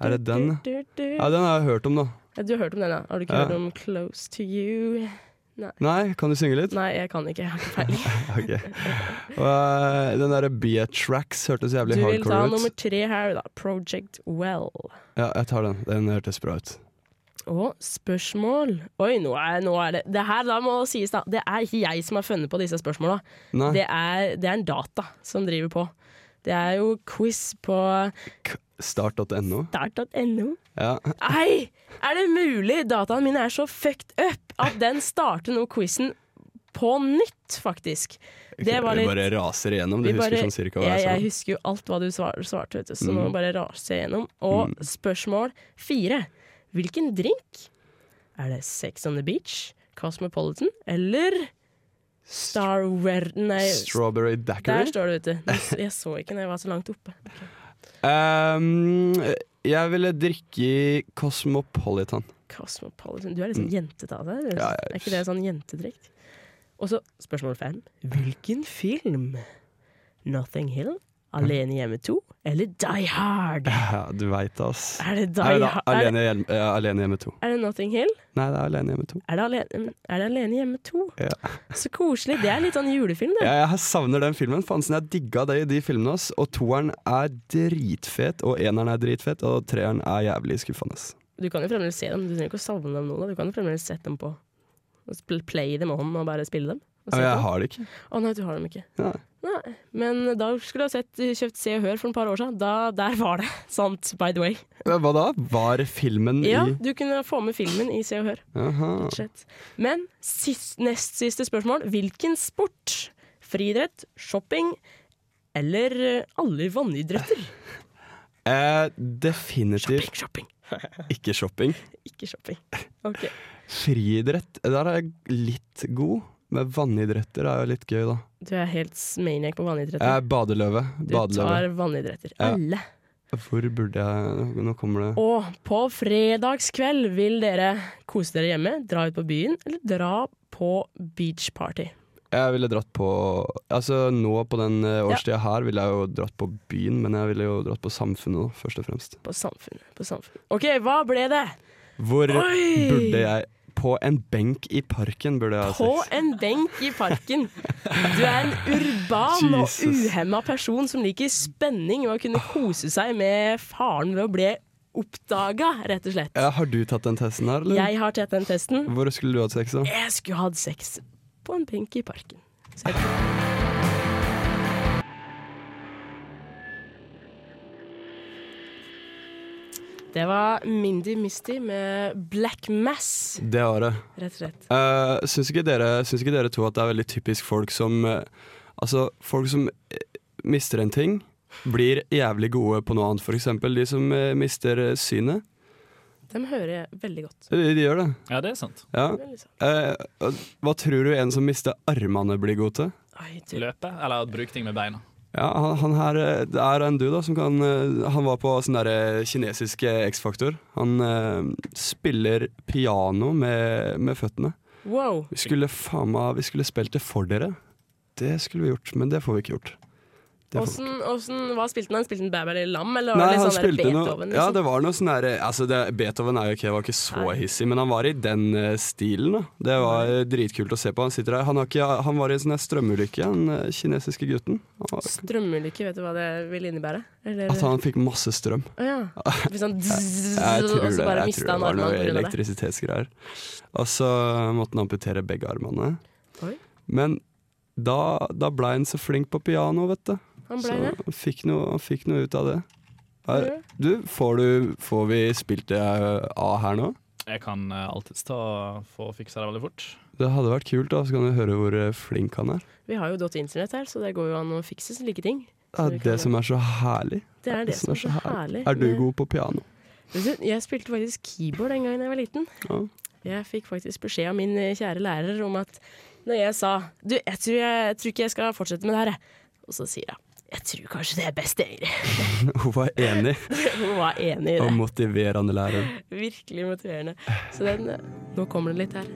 Er det den? Ja, den har jeg hørt om, da. Ja, Du har hørt om den, da? Har du ikke Ja. hørt om Close to You? Nei. Nei, kan du synge litt? Nei, jeg kan ikke. Jeg har ikke peiling. Ok. Og, eh, den derre B-Tracks hørtes Du jævlig vil ta hardcore nummer ut. tre her, da. Project Well. Ja, jeg tar den. Den hørtes bra ut. Og spørsmål Oi, nå er, nå er det Det her da må sies, da. Det er ikke jeg som har funnet på disse spørsmåla. Nei. Det er, det er en data som driver på. Det er jo quiz på Start.no. start.no. Ja. Nei! Er det mulig? Dataen min er så fucked up at den starter nå quizen på nytt, faktisk. Det var Vi litt bare raser igjennom. Du vi husker bare- sånn cirka hva jeg, jeg sa. jeg husker jo alt hva du svar, svarte, vet du, så Mm. nå bare raser jeg gjennom. Og spørsmål fire. Hvilken drink? Er det Sex on the Beach, Cosmopolitan eller Star Where... Nei, Strawberry der Dackery. står det, vet du. Nå s- Jeg så ikke når jeg var så langt oppe. Ehm, jeg ville drikke i Cosmopolitan. Cosmopolitan. Du er liksom Mm. jentete av deg. Ja, jeg- Er ikke det sånn jentedrikt? Og så spørsmål fem. Hvilken film? Nothing Hill, Alene hjemme 2 eller Die Hard? Mm. Ja, du veit det, ass. Er det Nei, Die da, Hard? Er det, alene, hjem- eh, alene hjemme to. er det Notting Hill? Nei, det er Alene hjemme to. Er det Alene, mm, er det alene hjemme 2? Ja. Så koselig. Det er litt sånn julefilm, det. Jeg, jeg savner den filmen. Fansen, jeg digga det i de filmene. Ass. Og toeren er dritfet, og eneren er dritfet, og treeren er jævlig skuffende. ass. Du kan jo fremdeles se dem. Du trenger ikke å savne dem nå. Da. Du kan jo fremdeles sette dem på. Og sp- Play dem on og bare spille dem. Og Ja, se men på. jeg har det ikke. Å nei, du har dem ikke. Nei. Nei. Men da skulle du ha sett, kjøpt Se og Hør for et par år siden. Da, der var det. Sant, by the way. Ja, Hva da? Var filmen Ja, i du kunne få med filmen i Se og Hør. Aha. Rett og slett. Men sist, nest siste spørsmål. Hvilken sport? Friidrett, shopping eller eh, alle vannidretter? Eh, definitivt Shopping. ikke shopping. Ikke shopping. Ok. Friidrett, eh, der er jeg litt god. Men vannidretter er jo litt gøy, da. Du er helt s- maniac på Eh, vannidretter. badeløve. Du tar badeløve. vannidretter. Ja. Alle. Hvor burde jeg Nå kommer det Og på fredagskveld vil dere kose dere hjemme, dra ut på byen eller dra på beach party. Jeg ville dratt på Altså nå på den eh, årstida her ville jeg jo dratt på byen, men jeg ville jo dratt på samfunnet, da, først og fremst. På samfunnet. På samfunnet. OK, hva ble det? Hvor Oi! burde jeg På en benk i parken burde jeg ha På sex. en benk i parken. Du er en urban og Jesus. uhemma person som liker spenning og å kunne kose seg med faren ved å bli oppdaga, rett og slett. Ja, har du tatt den testen her, eller? Jeg har tatt den testen. Hvor skulle du hatt sex, da? Jeg skulle hatt sex på en benk i parken. Så jeg tror- Det var Mindy Misty med Black Mass. Det var det. Rett og slett. Uh, syns, ikke dere, syns ikke dere to at det er veldig typisk folk som eh, Altså, folk som eh, mister en ting, blir jævlig gode på noe annet. For eksempel de som eh, mister eh, synet. Eh, Dem hører jeg veldig godt. De, de gjør det. Ja, det er sant. Ja. Veldig sant. Eh, og hva tror du en som mister armene, blir god til? sånn, Løpe, eller bruke ting med beina. Ja, han, han her, eh, Det er en du da som kan eh, Han var på sånn derre kinesiske X-faktor. Han eh, spiller piano med, med føttene. Wow. Vi skulle faen meg Vi skulle spilt det for dere. Det skulle vi gjort, men det får vi ikke gjort. Det får vi Åssen, åssen- hva spilte han? Spilte han Bæ, bæ, lille lam, eller var Nei, det litt han sånn der spilte noe Beethoven? Ja, liksom? det var noe sånn der altså det, Beethoven er jo ikke, var ikke så hissig, men han var i den eh, stilen. da Det var eh, dritkult å se på. Han sitter der Han, har ikke, han var i en sånn her strømulykke, han eh, kinesiske gutten. Han var- Strømulykke, vet du hva det vil innebære? Eller, At han fikk masse strøm. Å ja. Det blir sånn dzz, Jeg tror og det, Eh. så bare jeg tror mistet det han var armene noe på grunn av det. elektrisitetsgreier. Og så måtte han amputere begge armene. Oi. Men da, da blei han så flink på piano, vet du. Han så ble det. han fikk noe, han fikk noe ut av det. Her, Ja. du, får, du, får vi spilt det eh, av her nå? Jeg kan eh, alltids ta få fiksa det veldig fort. Det hadde vært kult, da, så kan du høre hvor eh, flink han er. Vi har jo dot internett her, så det går jo an å fikse slike ting. Det er det som er så herlig. Det er det som er så herlig. altså, Er du god på piano? Vet du, Jeg spilte faktisk keyboard den gangen jeg var liten. Ja. Jeg fikk faktisk beskjed av min eh, kjære lærer om at når jeg sa Du, jeg tror, jeg, jeg tror ikke jeg skal fortsette med det her, jeg. Og så sier jeg jeg tror kanskje det er best, egentlig. Hun var enig, Hun var enig i og det. motiverende lærer. Virkelig motiverende. Så den eh, Nå kommer det litt her.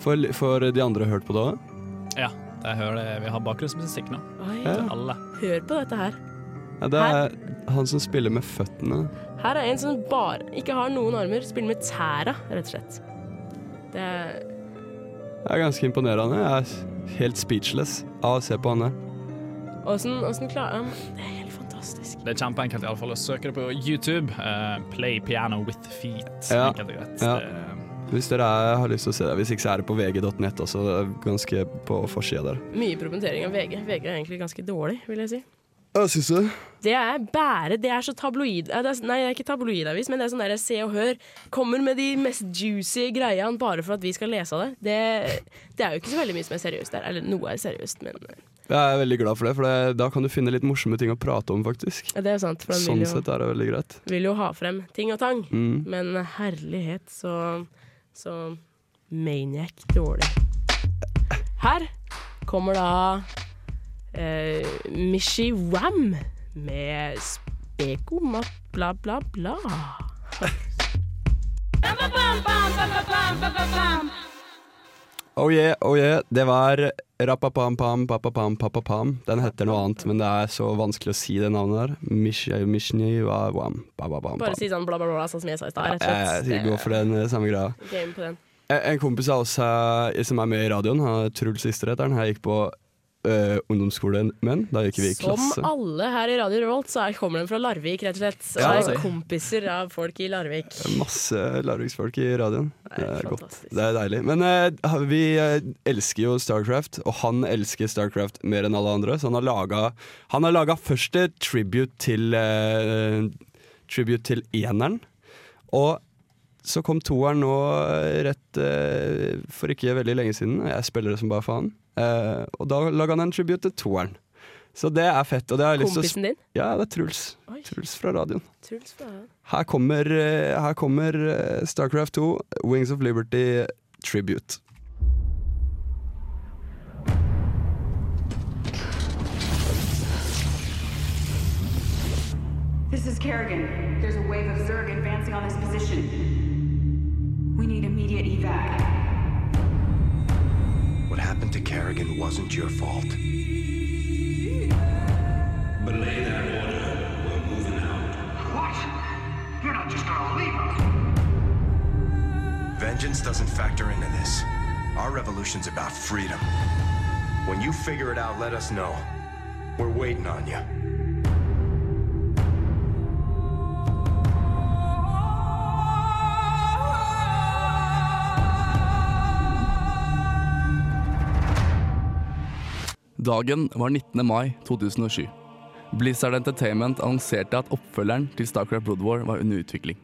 Får, får de andre hørt på det òg? Ja, jeg hører det. Vi har bakgrunnsmusikk nå. Oi. Til alle. Hør på dette her. Ja, det er han som spiller med føttene. Her er en som bare ikke har noen armer, spiller med tæra, rett og slett. Det er Det er ganske imponerende. Jeg er helt speechless av å se på han der. Åssen åssen klarer han Det er helt fantastisk. Det er kjempeenkelt, iallfall. Søk det på YouTube. eh, play piano with feet. Ja. Enkelt og greit. Ja. Det- Hvis dere er, har lyst til å se det. Hvis ikke så er det på vg.nett også, det er ganske på forsida der. Mye promotering av VG. VG er egentlig ganske dårlig, vil jeg si. Ja, syns du? Det er bære, det er så tabloid... eh, det er- Nei, det er ikke tabloidavis, men det er sånn der Se og Hør kommer med de mest juicy greiene bare for at vi skal lese av det. Det, det er jo ikke så veldig mye som er seriøst der. Eller noe er seriøst, men eh, Jeg er veldig glad for det, for det, da kan du finne litt morsomme ting å prate om, faktisk. det er sant. For han Sånn vil jo, sett er det veldig greit. vil jo ha frem ting og tang. Mm. Men herlighet, så Så maniac dårlig. Her kommer da eh, Mishi Wam med Speko Mat bla, bla, bla. Oh yeah, oh yeah. Det var Rapapam-pam, papapam, papapam. Den heter noe annet, men det er så vanskelig å si det navnet der. Mish- Mishni wa wam, bababam, Bare pam. si sånn bla, bla, bla, sånn som jeg sa i stad. Rett Jeg og jeg går slett. for den eh, samme greia. Det er Game på den. En en kompis av oss eh, som er med i radioen, han er Truls Isterhet, han her gikk på eh, ungdomsskolen men da gikk vi i klasse. Som alle her i Radio Revolt, så er- kommer de fra Larvik, rett og slett. Så Ja, er altså. kompiser av folk i Larvik. Masse larviksfolk i radioen. Det er godt. fantastisk. Det er deilig. Men eh, vi eh, elsker jo Starcraft, og han elsker Starcraft mer enn alle andre, så han har laga, han har laga først et tribute til eh, Tribute til eneren. Og så kom toeren nå eh, rett eh, for ikke veldig lenge siden, og jeg spiller det som bare faen. Eh, og da laga han en tribute til toeren. Så det er fett. Og det har jeg lyst til å sp- Kompisen din? Ja, det er Truls. Truls fra radioen. Truls fra Her kommer, eh, her kommer eh, Starcraft 2, Wings of Liberty Tribute. This is Kerrigan. There's a wave of Zerg advancing on this position. We need immediate evac. What happened to Kerrigan wasn't your fault. Belay that order. We're moving out. What? You're not just gonna leave us. Vengeance doesn't factor into this. Our revolution's about freedom. When you figure it out, let us know. We're waiting on you. Oh, oh, Dagen var 19. mai 2007. Blizzard Entertainment annonserte at oppfølgeren til Starcraft Blood War var under utvikling.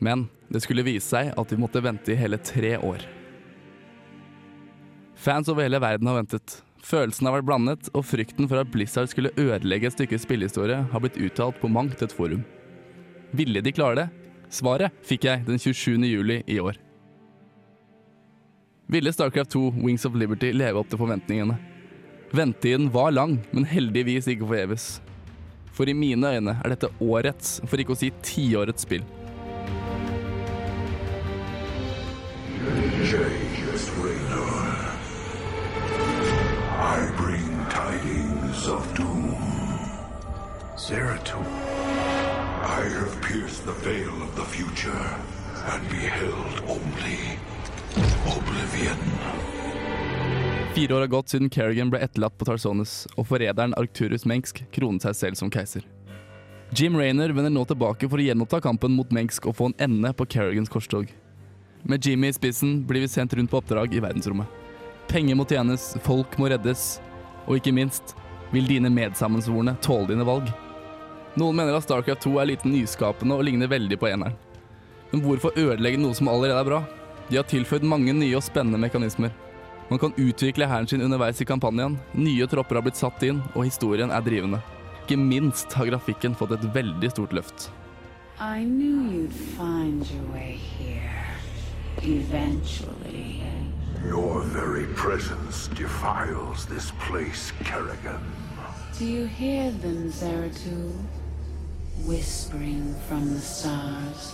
Men det skulle vise seg at de måtte vente i hele tre år. Fans over hele verden har ventet. Følelsen har vært blandet, og frykten for at Blizzard skulle ødelegge et stykke spillehistorie har blitt uttalt på mangt et forum. Ville de klare det? Svaret fikk jeg den 27. juli i år. Ville Starcraft 2 Wings of Liberty leve opp til forventningene? Ventetiden var lang, men heldigvis ikke forgjeves. For i mine øyne er dette årets, for ikke å si tiårets spill. Just Radar. I bring tidings of doom. Zeratul. I have pierced the veil of the future and beheld only oblivion. Fire år har gått siden Kerrigan ble etterlatt på Tarsonis, og forræderen Arcturus Mensk kronet seg selv som keiser. Jim Rayner vender nå tilbake for å gjenoppta kampen mot Mensk og få en ende på Kerrigans korstog. Med Jimmy i spissen blir vi sendt rundt på oppdrag i verdensrommet. Penger må tjenes, folk må reddes, og ikke minst, vil dine medsammensvorne tåle dine valg? Noen mener at Starcraft 2 er lite nyskapende og ligner veldig på eneren. Men hvorfor ødelegge noe som allerede er bra? De har tilføyd mange nye og spennende mekanismer. Man kan utvikle hæren sin underveis i kampanjen, nye tropper har blitt satt inn, og historien er drivende. Ikke minst har grafikken fått et veldig stort løft. I knew you'd find your way here. Eventually. Your very presence defiles this place, Kerrigan. Do you hear them, Zeratul? Whispering from the stars.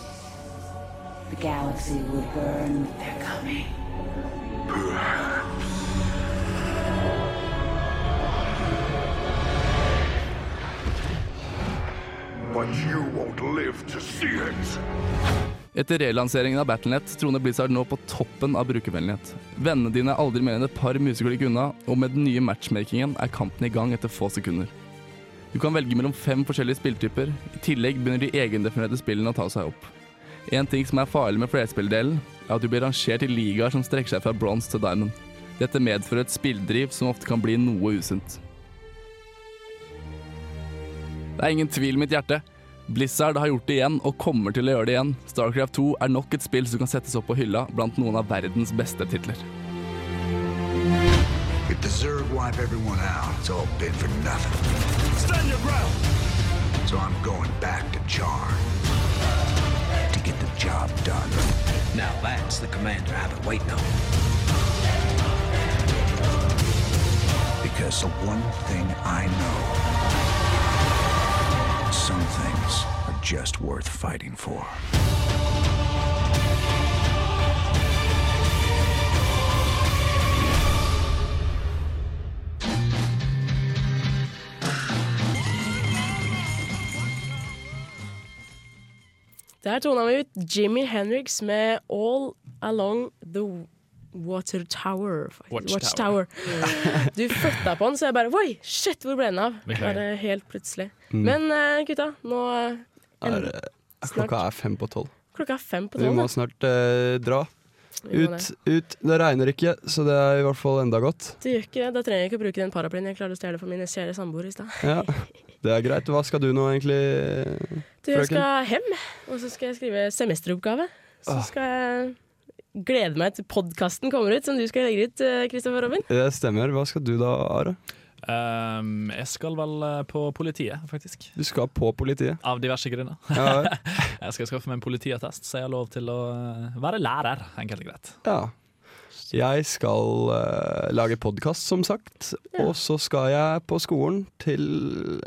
The galaxy will burn with their coming. But you won't live to see it. Etter relanseringen av Battlenet troner Blizzard nå på toppen av brukervennlighet. Vennene dine er aldri mer enn et par museklikk unna, og med den nye matchmakingen er kampen i gang etter få sekunder. Du kan velge mellom fem forskjellige spilltyper, i tillegg begynner de egendefinerte spillene å ta seg opp. En ting som er farlig med flerspilldelen, er at du blir rangert i ligaer som strekker seg fra bronse til diamond. Dette medfører et spilldriv som ofte kan bli noe usunt. Det er ingen tvil i mitt hjerte. Blizzard har gjort det igjen, og kommer til å gjøre det igjen. Starcraft 2 er nok et spill som kan settes opp på hylla blant noen av verdens beste titler. If the Zerg wipe everyone out, it's all been for nothing. Stand your ground! So I'm going back to Charn to get the job done. Now that's the commander I've been waiting on. Because the one thing I know some things are just worth fighting for. Der tona vi ut Jimmy Henriks med All Along The Water Tower. faktisk. Watchtower. Watchtower. Du flytta på den, så jeg bare Oi, shit, hvor ble den av? Beklager. Bare helt plutselig. Mm. Men eh, gutta, nå eh, Er, eh, klokka er fem på tolv. Klokka er fem på Vi tolv. må da. snart eh, dra. Vi må Ut, ut. Det regner ikke, så det er i hvert fall enda godt. Det gjør ikke det. Da trenger jeg ikke å bruke den paraplyen jeg klarte å stjele for min kjære samboer i stad. Ja, Det er greit. Hva skal du nå egentlig, Du, jeg skal hjem, og så skal jeg skrive semesteroppgave. Så Ah. skal jeg glede meg til podkasten kommer ut, som du skal legge ut, eh, Kristoffer Robin. Det stemmer. Hva skal du da, Are? Ehm, jeg skal vel eh, på politiet, faktisk. Du skal på politiet. Av diverse grunner. Ja, vel. jeg skal skaffe meg en politiattest, så jeg har lov til å eh, være lærer, enkelt og greit. Ja. Jeg skal eh, lage podkast, som sagt. Og så skal jeg på skolen til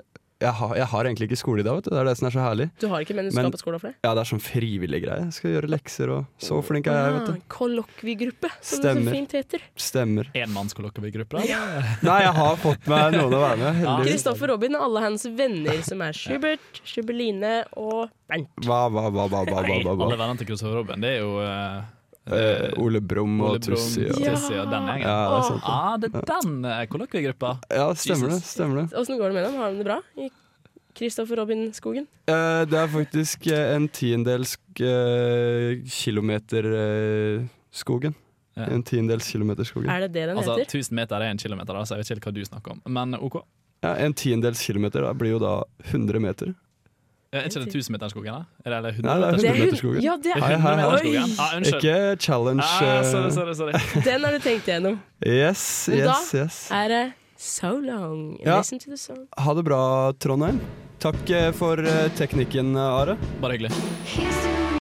jeg har, jeg har egentlig ikke skole i dag, vet du. Det er det som er så herlig. Du har ikke, men du skal på skolen for det? Ja, det er sånn frivillig greie. Jeg skal gjøre lekser og Så flink er jeg, vet du. Ah, Kollokviegruppe, som det Stemmer. så fint heter. Stemmer. Enmannskollokviegruppa? Nei, jeg har fått meg noen å være med, heldigvis. Kristoffer Robin og alle hans venner, som er Schubert, Schuberline og Bernt. Hva, hva, hva, hva, hva, hva, Nei, hva, alle hva. vennene til Kristoffer Robben, det er jo eh, Eh, Ole Brum og Ole Brumm, Tussi. og- Tussi og den gjengen. Ja, det er sant. Ah, det er den eh, kollokviegruppa. Ja, stemmer det. Jesus. Stemmer det. Åssen går det med dem? Har de det bra i Kristoffer Robin-skogen? Eh, det er faktisk eh, en tiendels eh, kilometer eh, skogen. Ja. En tiendels kilometer skogen. Er det det den Altså, heter? 1000 meter er en kilometer, da, så jeg vet ikke helt hva du snakker om. Men OK. eh, Ja, en tiendedels kilometer da, blir jo da 100 meter. Er ikke det 1000-meterskogen, da? Eller er det Nei, det er 100-meterskogen. 100-meterskogen? Ja, det er- Hei, hei, hei. 100-meterskogen. Ah, unnskyld. Ikke challenge. Ah, sorry, eh, sorry, sorry. Den har du tenkt igjennom. Yes, Men yes, da yes. er det So long. Ja. Listen to the song. Ha det bra, Trondheim. Takk eh, for eh, teknikken, eh, Are. Bare hyggelig. Here's to